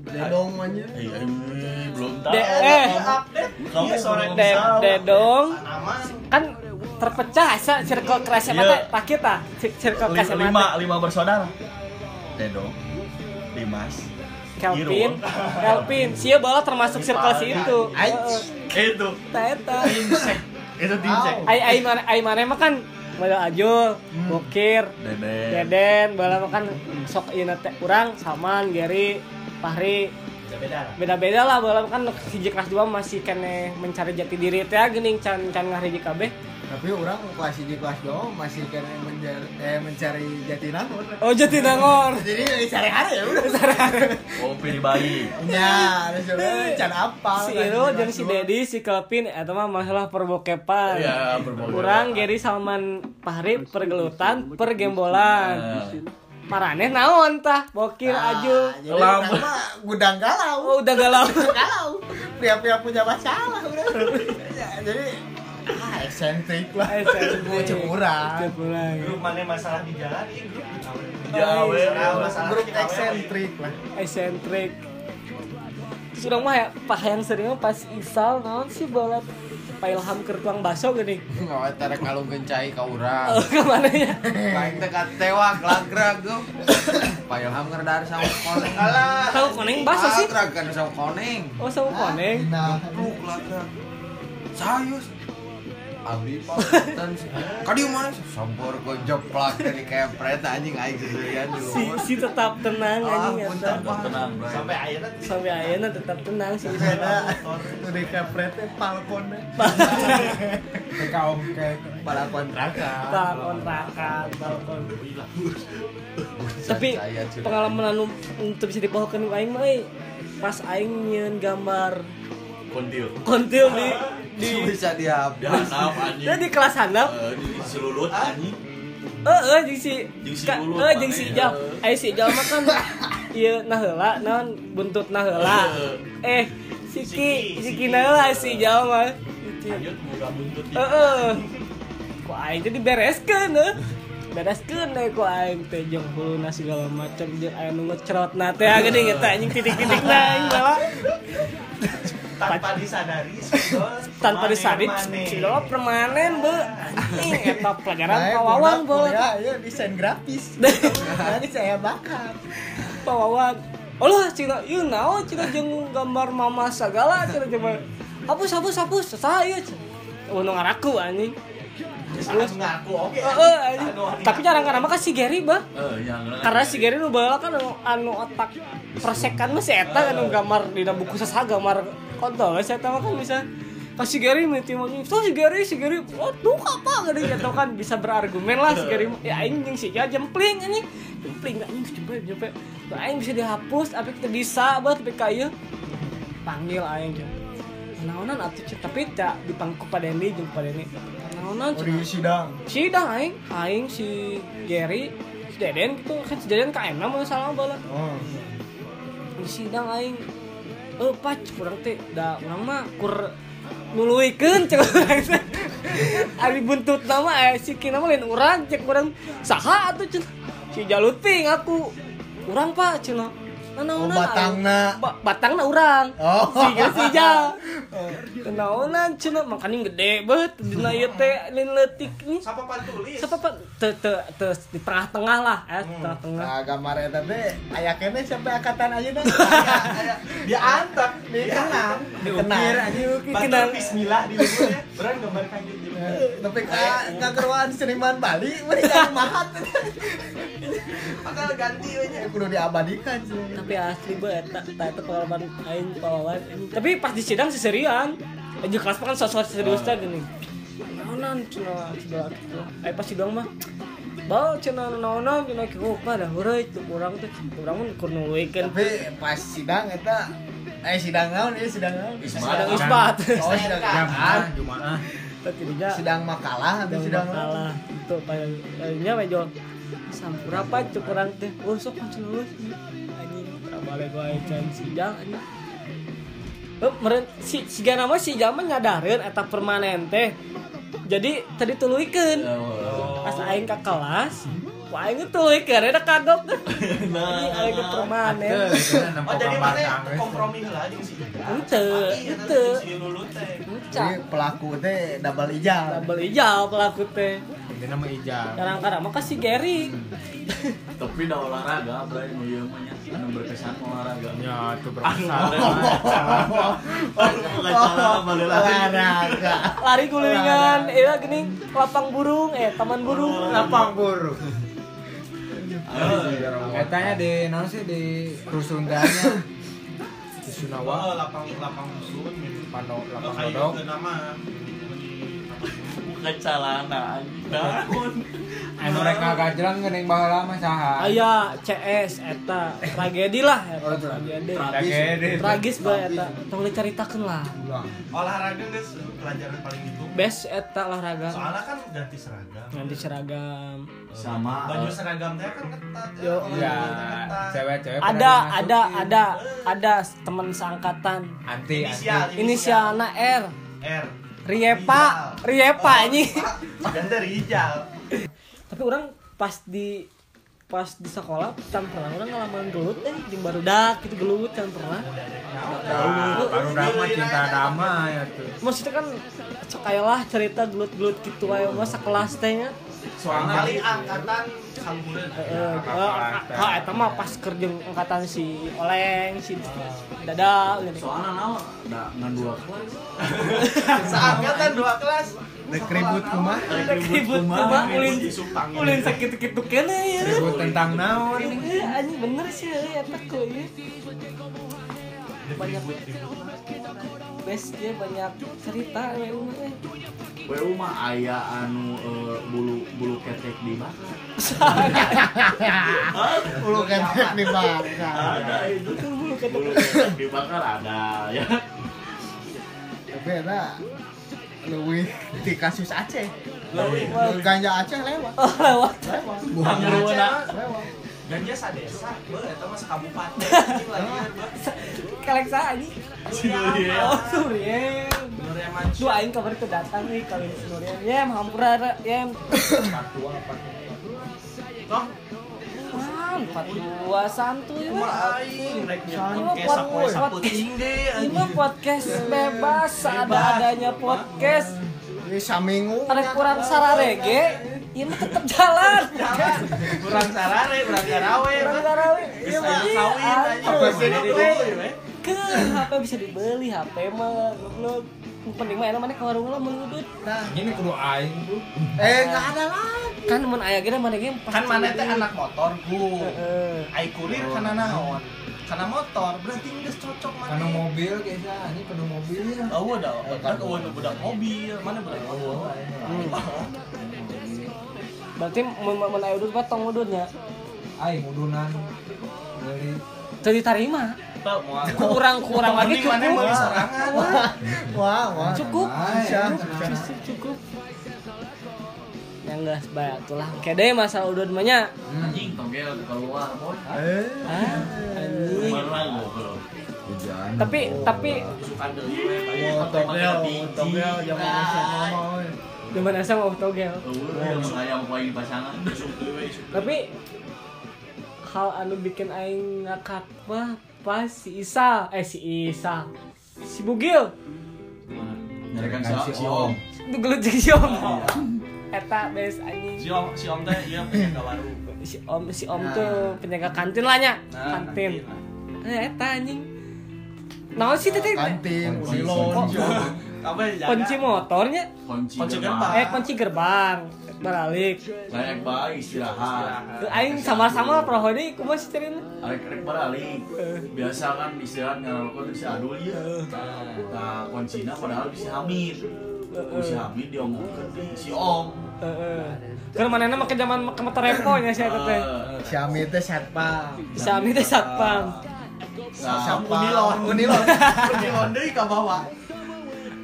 Speaker 2: dedong aja
Speaker 6: Eh, eh, eh, belum tahu.
Speaker 1: De eh
Speaker 3: update.
Speaker 6: Kamu
Speaker 3: Iya, sore
Speaker 6: belum
Speaker 1: de
Speaker 6: tahu.
Speaker 1: Dedong
Speaker 3: tanaman.
Speaker 1: kan terpecah sa circle crash
Speaker 6: Iya.
Speaker 1: mata rakit ah Cir- circle crash
Speaker 6: Li- lima lima bersaudara. Dedo, Dimas,
Speaker 1: Kelvin
Speaker 6: Irwan.
Speaker 1: Kelvin sia bala termasuk circle si itu
Speaker 2: Aji.
Speaker 6: itu
Speaker 1: Teta.
Speaker 6: itu dinsek
Speaker 1: Ai ai mana ai mana mah kan modal ajul,
Speaker 6: Hmm.
Speaker 1: bokir,
Speaker 6: dede
Speaker 1: deden, bala mah kan sok ieu teh urang saman Gary, Fahri
Speaker 3: beda
Speaker 1: beda-beda lah bala mah kan hiji kelas 2 masih kene mencari jati diri teh geuning can can ngahriji kabeh.
Speaker 2: tapi orang kelas di kelas dua masih kena mencari, eh, mencari jatinangor
Speaker 1: Oh jati nangor.
Speaker 2: jadi cari hari ya udah
Speaker 6: kopi di bayi
Speaker 2: ya harus orang cari apa
Speaker 1: Si
Speaker 2: kan,
Speaker 1: Iro
Speaker 2: di
Speaker 1: jeung
Speaker 2: kelas
Speaker 1: si
Speaker 2: dua.
Speaker 1: Dedi, si Kelvin eta mah masalah perbokepan.
Speaker 6: ya berbau
Speaker 1: Kurang Gary Salman Fahri pergelutan pergembolan. Marane naon tah? Bokir
Speaker 2: Nah,
Speaker 1: ajul.
Speaker 2: jadi
Speaker 6: Lama.
Speaker 2: orang mah gudang galau
Speaker 1: Oh udah galau.
Speaker 2: galau pria-pria punya masalah udah Ya, jadi ah eksentrik lah
Speaker 1: Eh, saya
Speaker 2: Bocah kurang.
Speaker 1: Bocah kurang.
Speaker 3: grup mana masalah di jalan ini grup di awal.
Speaker 6: Jawa
Speaker 3: Masalah- masalah
Speaker 2: grup
Speaker 3: kita awal.
Speaker 2: eksentrik lah
Speaker 1: Eksentrik. Terus orang mah ya, pah yang seringnya pas Isal naon sih bola Pak Ilham ke tukang baso gini.
Speaker 8: Ngawa tarik kalung gencai ka urang.
Speaker 1: Oh, kemana ya?
Speaker 8: Lain teka tewak lagrag geup. Payah ham ngerdar sama koneng. Alah.
Speaker 1: Tahu koneng baso sih.
Speaker 8: Lagrag kan sama koneng.
Speaker 1: Oh sama koneng.
Speaker 2: nah
Speaker 8: Pluk lagrag. Sayus. Abi pak dan kadieu mana sih? Sabor gojok plak dari kepret anjing aing sendirian di
Speaker 1: Si
Speaker 8: luar.
Speaker 1: si tetap tenang
Speaker 8: Ah,
Speaker 1: anjing
Speaker 8: punten,
Speaker 1: eta.
Speaker 8: Pak.
Speaker 6: tenang
Speaker 3: sampai akhirnya
Speaker 1: Sampai ayeuna tetap tenang si Isal.
Speaker 2: beda udah kepretnya palkonnya
Speaker 4: TK Oke.
Speaker 2: para kontrakan
Speaker 1: Pak kontrakan, Pak kontrakan.
Speaker 8: Buset,
Speaker 1: tapi
Speaker 8: saya sudah.
Speaker 1: pengalaman anu untuk bisa dibawakan ke aing mah euy, pas aing nyeun gambar
Speaker 6: kontil
Speaker 1: kontil di di
Speaker 8: bisa dihapus.
Speaker 6: jahanam anjing
Speaker 1: di kelas handap
Speaker 6: Eh, di di selulut anjing
Speaker 1: heeh jeung si
Speaker 6: Jeung si
Speaker 1: Eh, ka-
Speaker 6: Ulun,
Speaker 1: eh, jeung si
Speaker 6: maneh.
Speaker 1: Ijal aya si Ijal mah kan ieu naheula naon buntut naheula eh
Speaker 3: Siki,
Speaker 1: Siki Siki
Speaker 3: Siki.
Speaker 1: naheula si Ijal mah
Speaker 6: lanjut muka buntut di
Speaker 1: heeh ku eh. aing teh dibereskeun heuh bereskeun deh ku aing teh jeung huluna segala macam jeung aya nu ngecrotna teh geuning eta anjing titik-titik aing bawa
Speaker 3: tanpa disadari spidol
Speaker 1: tanpa
Speaker 3: mana
Speaker 1: disadari
Speaker 3: mana.
Speaker 1: cilok permanen be anjing eta
Speaker 2: Nah,
Speaker 1: pelajaran pawawang
Speaker 2: Pawang
Speaker 1: bol
Speaker 2: ya, ya desain grafis. Nanti saya bakar.
Speaker 1: pawawang Allah cina ieu naon cina jeung gambar mama segala cina coba hapus hapus hapus saha ieu cina. Untung ngaraku anjing
Speaker 3: Terus ngaku oke
Speaker 1: Heeh anjing tapi jarang-jarang mah kan si Gary bah
Speaker 6: eh yang
Speaker 1: karena si Gary nu baheula kan anu, anu otak persekan mah si eta anu gambar di buku sasaha gambar kontol si eta mah kan bisa pas si Gary mimpi mau tuh si Gary si Gary waduh apa gak ada kan bisa berargumen lah si Gary mah. ya aing jeung si ya jempling anjing jempling anjing jempe jempe Nah, aing bisa dihapus tapi kita bisa bah tapi kayu panggil aing jeung naonan atuh Cik. tapi tak dipangku pada ini jeung pada ini naonan Cik.
Speaker 2: Di sidang.
Speaker 1: si dah aing aing si Gary si Deden gitu kan si Deden KM lah mau salah bala
Speaker 2: Oh.
Speaker 1: di sidang aing eh pac kurang teh da urang mah kur nuluikeun cek urang teh ari buntut nama eh si kina mah lain urang cek urang saha atuh cenah si Jalut Ping aku urang pak cenah
Speaker 2: Oh,
Speaker 1: Nanaonan
Speaker 2: batangna.
Speaker 1: ba batangna urang
Speaker 2: Oh.
Speaker 1: si Gary si Jal Nanaonan cenah makanya gede banget dina ieu teh lain leutik nih
Speaker 3: siapa pantulis
Speaker 1: siapa pak te te te di tengah tengah lah eh tengah tengah
Speaker 2: Nah, gambar eta teh aya kene sampai angkatan aja dah. Iya.
Speaker 3: dia antak dia kenal
Speaker 2: Dikenal.
Speaker 3: Batu
Speaker 1: Kenal.
Speaker 3: Bismillah di luar ya berani gambar kanjut di luar
Speaker 2: Eh, Tapi ka ngakeruan seniman Bali, mending kan mahat. Ya,
Speaker 3: bakal ganti aja
Speaker 2: Kudu diabadikan sih.
Speaker 1: tapi asli banget tak tak itu pengalaman lain pengalaman ini. tapi pas di sidang serian aja kelas mah kan sosok serius teh gini naonan cina cina gitu eh pas sidang mah bal cina naonan cina kau pada hore itu orang tuh orang pun kurang weekend
Speaker 2: Tapi pas sidang eta eh sidang naon ya sidang naon?
Speaker 1: sedang isbat
Speaker 2: Oh, sidang
Speaker 4: Jumaah, Jumaah.
Speaker 1: tapi tidak
Speaker 2: sidang makalah atau sidang
Speaker 1: sidang kalah itu palingnya mejo sampura apa itu kurang teh oh sok langsung lulus anjing balik wae can sidang anjing Eh, meren si si gana mah si jaman nyadareun eta permanen teh jadi tadi tuluikeun
Speaker 6: Eh,
Speaker 1: pas aing ke kelas Wah ini tuh karena kagok tuh. Ini
Speaker 3: Nah,
Speaker 1: ada permanen.
Speaker 3: Oh jadi mana kompromi lah jeung si Ida.
Speaker 1: Henteu,
Speaker 3: Tapi ya,
Speaker 1: henteu.
Speaker 3: si Lulu teh.
Speaker 2: Jadi
Speaker 1: Encak.
Speaker 2: pelaku teh double ijab.
Speaker 1: Double hijau pelaku teh.
Speaker 4: Dia nama Ijal.
Speaker 1: Kadang-kadang makasih Gary.
Speaker 6: tapi dah olahraga bro yang iya mah nya. anu berkesan olahraga
Speaker 4: Ya itu
Speaker 2: Ah,
Speaker 6: aduh pengacara balik lagi
Speaker 2: Olahraga.
Speaker 1: Lari gulingan, eh gini lapang burung, eh taman burung.
Speaker 4: Lapang burung.
Speaker 3: Iya,
Speaker 6: Aduh, sih, ya, Romo.
Speaker 4: Katanya di non sih di rusun tanya di
Speaker 3: Wah,
Speaker 4: Sunawa
Speaker 3: lapang lapang sun gitu. Lo
Speaker 4: Pano Lapang
Speaker 3: kayu
Speaker 4: Dodok.
Speaker 3: teu gitu, nama.
Speaker 6: bukan celana anjing bangun
Speaker 4: Anu rek ngagajelan gening baheula mah saha?
Speaker 1: Aya CS eta tragedi lah eta tragedi.
Speaker 4: Tragedi.
Speaker 1: Tragis bae eta. Tong dicaritakeun lah.
Speaker 3: Olahraga geus pelajaran paling itu.
Speaker 1: Best eta olahraga
Speaker 3: Soalnya kan ganti seragam.
Speaker 1: ganti seragam.
Speaker 6: sama
Speaker 3: Baju seragam teh kan ketat ya.
Speaker 1: Yo. iya.
Speaker 3: olahraga
Speaker 4: Ya,
Speaker 3: teh ketat.
Speaker 4: cewek-cewek pada
Speaker 1: Ada
Speaker 4: dimasukin.
Speaker 1: ada ada ada teman seangkatan.
Speaker 4: Anti
Speaker 3: Inisial,
Speaker 4: anti.
Speaker 1: Inisialna R.
Speaker 3: R. Oh,
Speaker 1: Riepa, Riepa anjing.
Speaker 3: Dan dari hijau.
Speaker 1: Tapi orang pas di pas di sekolah kan pernah orang ngalaman gelut eh jeung barudak gitu gelut kan pernah.
Speaker 4: Nah, baru drama cinta damai ya tuh.
Speaker 1: Maksudnya kan sok aya lah cerita gelut-gelut gitu aja mah sekelas teh ya. nya.
Speaker 3: Soalnya kali angkatan kalbureun.
Speaker 1: Heeh, ah Eh, eta mah pas kerja angkatan si Oleng, si Dadal gitu.
Speaker 6: soalnya nau da ngan dua kelas
Speaker 3: Seangkatan dua kelas.
Speaker 2: Dek ribut rumah.
Speaker 1: Ribut kumaha ulin
Speaker 3: Supang.
Speaker 1: ulin sakit-sakit kene ya.
Speaker 4: Ribut tentang naon?
Speaker 1: Eh, Anjing bener sih ya eta ku ieu. Banyak best dia banyak cerita ya umur eh.
Speaker 6: WU mah aya anu eh, bulu bulu ketek di bakar
Speaker 2: Ulu ketek di bangka.
Speaker 6: ada itu tuh bulu ketek bulu ketek di bakar ada ya
Speaker 2: Tapi ada lebih di kasus Aceh.
Speaker 3: Leuwih.
Speaker 2: Ganja Aceh lewat.
Speaker 1: Oh, lewat.
Speaker 2: Lewat.
Speaker 3: Bukan
Speaker 2: Lewat. Lewat.
Speaker 3: Ganja sadesa, beuh eta mah sakabupaten anjing iya, lain beuh.
Speaker 1: Kaleksa anjing. Oh, Surien.
Speaker 3: Nurnya
Speaker 1: Duh aing kabar teu datang nih kalau si Surien. Yem, hampura re, yem.
Speaker 3: Toh,
Speaker 1: Ah, 42 santuy we.
Speaker 3: kumaha
Speaker 1: Iya.
Speaker 3: aing rek
Speaker 1: Ini
Speaker 3: nyebutin
Speaker 1: mah
Speaker 3: kesak poe
Speaker 1: pod- podcast.
Speaker 3: saputing deh
Speaker 1: Ini
Speaker 3: anjing.
Speaker 1: mah podcast bebas, ada-adanya podcast.
Speaker 2: Ini saminggu.
Speaker 1: Ada kurang sararege, ini mah tetep jalan.
Speaker 3: Jangan, Kurang sarare, kurang garawe.
Speaker 1: Kurang
Speaker 3: beuh.
Speaker 1: sarawe.
Speaker 3: Geus aya kawin anjing.
Speaker 2: Apa sih
Speaker 3: Mana
Speaker 2: itu?
Speaker 3: dulu, ya, weh?
Speaker 1: Ke HP bisa dibeli, HP mah goblok. Yang penting mah enak mana ke warung lah mengudut.
Speaker 4: Ini kudu aing tuh.
Speaker 2: Eh nggak ada lagi.
Speaker 1: Kan mun aya ge mana Eh, ge
Speaker 3: Kan mana teh anak motor ku.
Speaker 1: Heeh.
Speaker 3: Ai kurir kana naon? Kana motor, berarti geus cocok mana.
Speaker 4: Kanu mobil kayaknya, ini kanu mobil.
Speaker 3: Eueuh da, budak eueuh nu budak mobil, mana budak motor.
Speaker 1: Berarti mun mun aya udut potong udutnya.
Speaker 4: Aing udunan. Dari
Speaker 1: Teu ditarima.
Speaker 3: Teu moal.
Speaker 1: Kurang-kurang lagi
Speaker 3: Mending mana
Speaker 1: cukup.
Speaker 3: meuli sorangan.
Speaker 2: Wah, wah.
Speaker 1: Cukup.
Speaker 4: Ayah, tenang.
Speaker 1: cukup cukup yang enggak sebanyak tulang kayak deh masalah udon banyak
Speaker 6: anjing togel keluar boy
Speaker 2: Eh.
Speaker 1: ah, anjing.
Speaker 6: Kemarin lah bro
Speaker 8: Hujan.
Speaker 1: tapi tapi
Speaker 6: suka dulu banyak
Speaker 2: Wah, togel, togel zaman Aceh mah.
Speaker 1: cuman asa mau togel
Speaker 6: yang sayang poin pasangan Suka deui, suka.
Speaker 1: tapi hal anu bikin aing ngakak mah pas si Isa eh si Isa si Bugil
Speaker 6: Gimana? nyarekan si si om
Speaker 1: itu gelut jeung si Om eta bes
Speaker 3: Si
Speaker 1: anjing
Speaker 3: Om, si Om teh ieu penjaga warung.
Speaker 1: si Om si Om tuh penjaga kantin lah nya kantin
Speaker 3: lah.
Speaker 1: Eh, eta anjing naon sih teh teh?
Speaker 2: Kantin,
Speaker 8: Kunci,
Speaker 2: Udilon,
Speaker 8: kunci.
Speaker 3: Apa ya? jaga?
Speaker 1: kunci motornya
Speaker 6: kunci
Speaker 3: Kunci
Speaker 6: gerbang
Speaker 1: eh kunci gerbang balik
Speaker 6: rek bae istirahat
Speaker 1: aing sama-sama prohodi kumaha sih cerita
Speaker 6: rek rek balik biasa kan istirahat ngarokok si adul ya nah kuncina padahal bisa hamid si hamid diomongkeun di si om
Speaker 1: heeh keur manehna mah ke zaman ke motor repo nya sia eta teh
Speaker 6: Eh,
Speaker 2: Xiaomi teh satpam.
Speaker 1: si Ami teh satpam
Speaker 6: nah,
Speaker 3: Unilon.
Speaker 2: Unilon.
Speaker 3: Unilon deui ka bawah.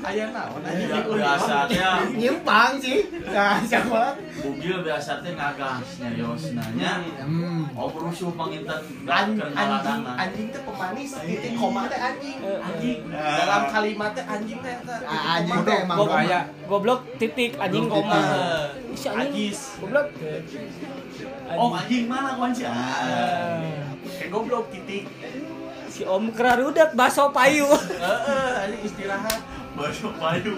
Speaker 3: Aya naon anjing di
Speaker 6: Ya,
Speaker 3: Unilon?
Speaker 6: biasanya
Speaker 2: Nyimpang sih. Nah, siapa?
Speaker 6: bugil biasanya ngagasnya yosnanya
Speaker 2: Hmm.
Speaker 6: oh perusuh pangintan
Speaker 3: Anjing,
Speaker 6: kan
Speaker 3: anjing,
Speaker 6: ngaladana
Speaker 3: anjing teh pemanis, titik koma teh anjing.
Speaker 1: Anjing.
Speaker 3: Dalam kalimat teh anjing teh. teh.
Speaker 2: Ah, anjing teh emang
Speaker 1: Goblok.
Speaker 2: gua-
Speaker 4: Aya.
Speaker 1: goblok titik anjing koma
Speaker 3: Eh,
Speaker 1: si anjing
Speaker 3: Agis.
Speaker 1: goblok
Speaker 6: Om Oh, anjing mana kawan sih? Ah.
Speaker 3: Eh,
Speaker 6: Kayak goblok titik.
Speaker 1: si Om Kerarudat baso payu.
Speaker 3: Eh,
Speaker 6: Heeh, anjing istirahat. Baru payu.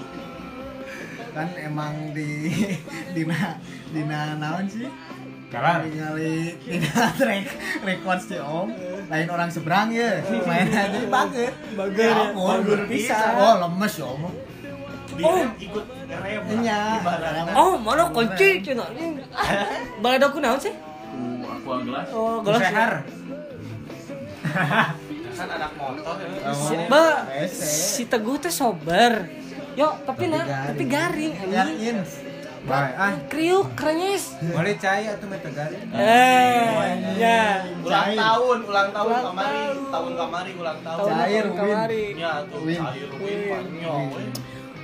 Speaker 2: kan emang di dina dina naon sih
Speaker 4: Jalan.
Speaker 2: ningali dina track record si om lain orang seberang ya main aja bager
Speaker 1: Bager ya.
Speaker 2: bager
Speaker 1: Bager
Speaker 2: bisa
Speaker 1: pisan.
Speaker 2: oh lemes ya om
Speaker 6: Di
Speaker 1: Oh.
Speaker 6: ikut ngerem.
Speaker 2: Iya.
Speaker 6: Ibaratnya.
Speaker 1: Oh, mana kunci cina? Balai daku naon sih?
Speaker 6: Aku- Uh, Aku anggelas.
Speaker 1: Oh, gelas.
Speaker 4: Seher.
Speaker 3: kan anak motor ya
Speaker 1: Si, ba,
Speaker 2: Rese.
Speaker 1: si Teguh teh sober. Yo, tapi na, tapi garing anjing.
Speaker 2: yakin
Speaker 4: Baik, ah,
Speaker 1: Kriuk krenyes.
Speaker 4: boleh cai atau metegali.
Speaker 1: Eh, ya.
Speaker 6: Ulang
Speaker 2: Cair.
Speaker 6: tahun, ulang tahun
Speaker 1: Ulang
Speaker 6: kamari,
Speaker 1: tahun.
Speaker 6: tahun kamari, ulang tahun.
Speaker 1: Tahun
Speaker 2: Cair,
Speaker 1: depan
Speaker 2: Win.
Speaker 1: kamari.
Speaker 6: Ya tuh,
Speaker 2: Win.
Speaker 6: cair win panjang. weh.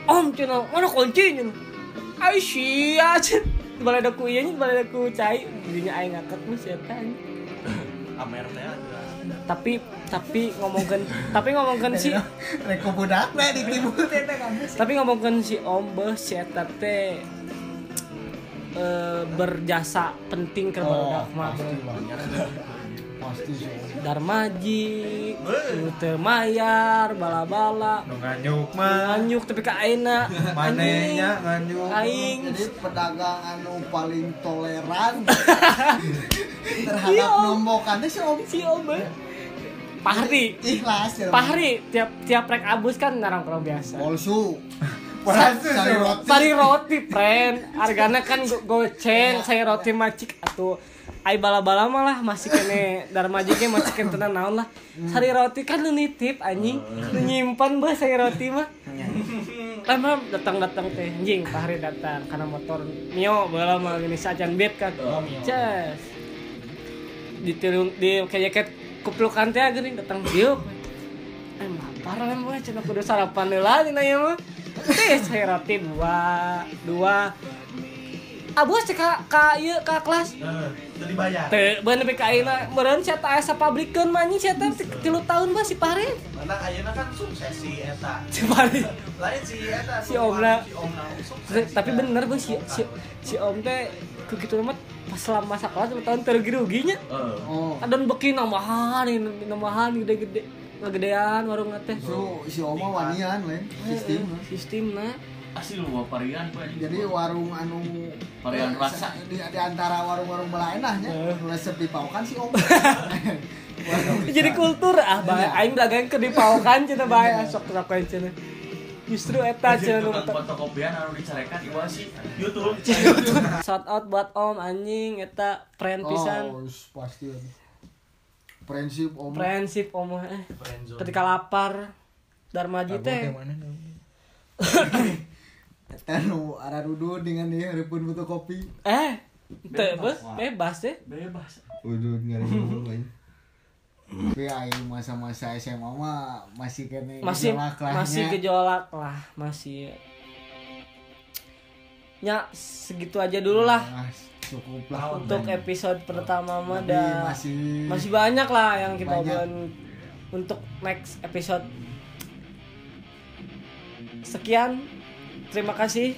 Speaker 1: Om cina, mana kunci cina? Ai sia cina. Balai daku ieu nya balai daku cai. Dirinya aing ngangkat mah sia teh, anjing.
Speaker 6: Amernya aja.
Speaker 1: ya kan? Tapi tapi ngomongkeun tapi ngomongkeun si
Speaker 2: reko budak we di timu teh teh kan
Speaker 1: tapi ngomongkeun si Om beuh si eta teh eh, berjasa penting ke barudak mah.
Speaker 2: pasti banyak pasti sih
Speaker 1: Darmaji, Rute Mayar, Bala-Bala,
Speaker 4: Nu nganjuk mah.
Speaker 1: Manyuk tapi ke Aina,
Speaker 4: Manehnya nganjuk.
Speaker 1: Aing,
Speaker 2: jadi pedagang anu paling toleran terhadap
Speaker 1: Iya, Om.
Speaker 2: nombokannya si om
Speaker 1: si Obe, Pahri,
Speaker 2: ikhlas ya Om.
Speaker 1: Pahri tiap tiap rek abus kan narang-narang biasa.
Speaker 2: polsu
Speaker 4: Polsu,
Speaker 2: Sari
Speaker 4: Om.
Speaker 2: roti.
Speaker 1: Sari roti, friend. Hargana kan go- goceng, saya roti macik atuh. Ai bala-bala malah masih kene darmaji ge masih kene tenan naon lah. Sari roti kan lu nitip anjing, lu nyimpan bah sari roti mah. Lama datang-datang teh anjing, Fahri datang karena motor Mio bala mah gini sajan bet kan. Cas. Ditiru di kayak jaket kuplukan teh gini datang diuk. Eh, lapar lah mah cina kudu sarapan heula dina ieu mah. Teh saya roti dua, dua. Abos cek ka ka ieu ka kelas.
Speaker 3: Eh, jadi bayar
Speaker 1: Teh beun nepi ka ayeuna meureun sia teh asa pabrikeun mah anjing sia teh 3 tahun mah si Pare.
Speaker 3: mana ayeuna kan sukses si eta
Speaker 1: Si Pare.
Speaker 3: lain si eta
Speaker 1: Si Omla.
Speaker 3: si Omla sukses
Speaker 1: Tapi bener gue si si, si Om teh kukitu mah pas selama masa kelas 2 tahun terugi-ruginya.
Speaker 6: Eh,
Speaker 2: oh
Speaker 1: Kadon beki nambahan, nambahan gede-gede. Ngegedean warung teh.
Speaker 2: So, si Oma wanian lain sistem.
Speaker 1: Sistemna.
Speaker 6: Asli lu bawa parian gue anjing.
Speaker 2: Jadi warung anu
Speaker 6: Varian rasa.
Speaker 2: di, di antara warung-warung belain ahnya
Speaker 1: Eh.
Speaker 2: resep di paukan si Oh, Oma. warung
Speaker 1: jadi kultur ah bae aing dagang ke dipaokan cenah bae Ah, sok sok aing cenah justru eta cenah nu
Speaker 6: Iya, tukang
Speaker 1: mata-
Speaker 6: fotokopian anu dicarekan iwasi YouTube
Speaker 1: shout out buat om anjing eta friend pisan
Speaker 2: Oh, pasti. Prinsip Oma.
Speaker 1: friendship om eh ketika lapar Darmaji teh
Speaker 2: Eta nu ararudu dengan dia harapun butuh kopi.
Speaker 1: eh teu beuh, bebas deh
Speaker 6: bebas
Speaker 8: Udah nyari dulu aja.
Speaker 2: Tapi aing masa-masa SMA mah masih kene
Speaker 1: masih
Speaker 2: gejolak ya. lahnya.
Speaker 1: masih gejolak lah masih nya segitu aja dulu lah
Speaker 2: Ah, cukup lah.
Speaker 1: untuk episode pertama mah
Speaker 2: Tapi
Speaker 1: dah-
Speaker 2: Iya. masih
Speaker 1: masih banyak lah yang kita
Speaker 2: Banyak.
Speaker 1: obrolin untuk next episode sekian terima kasih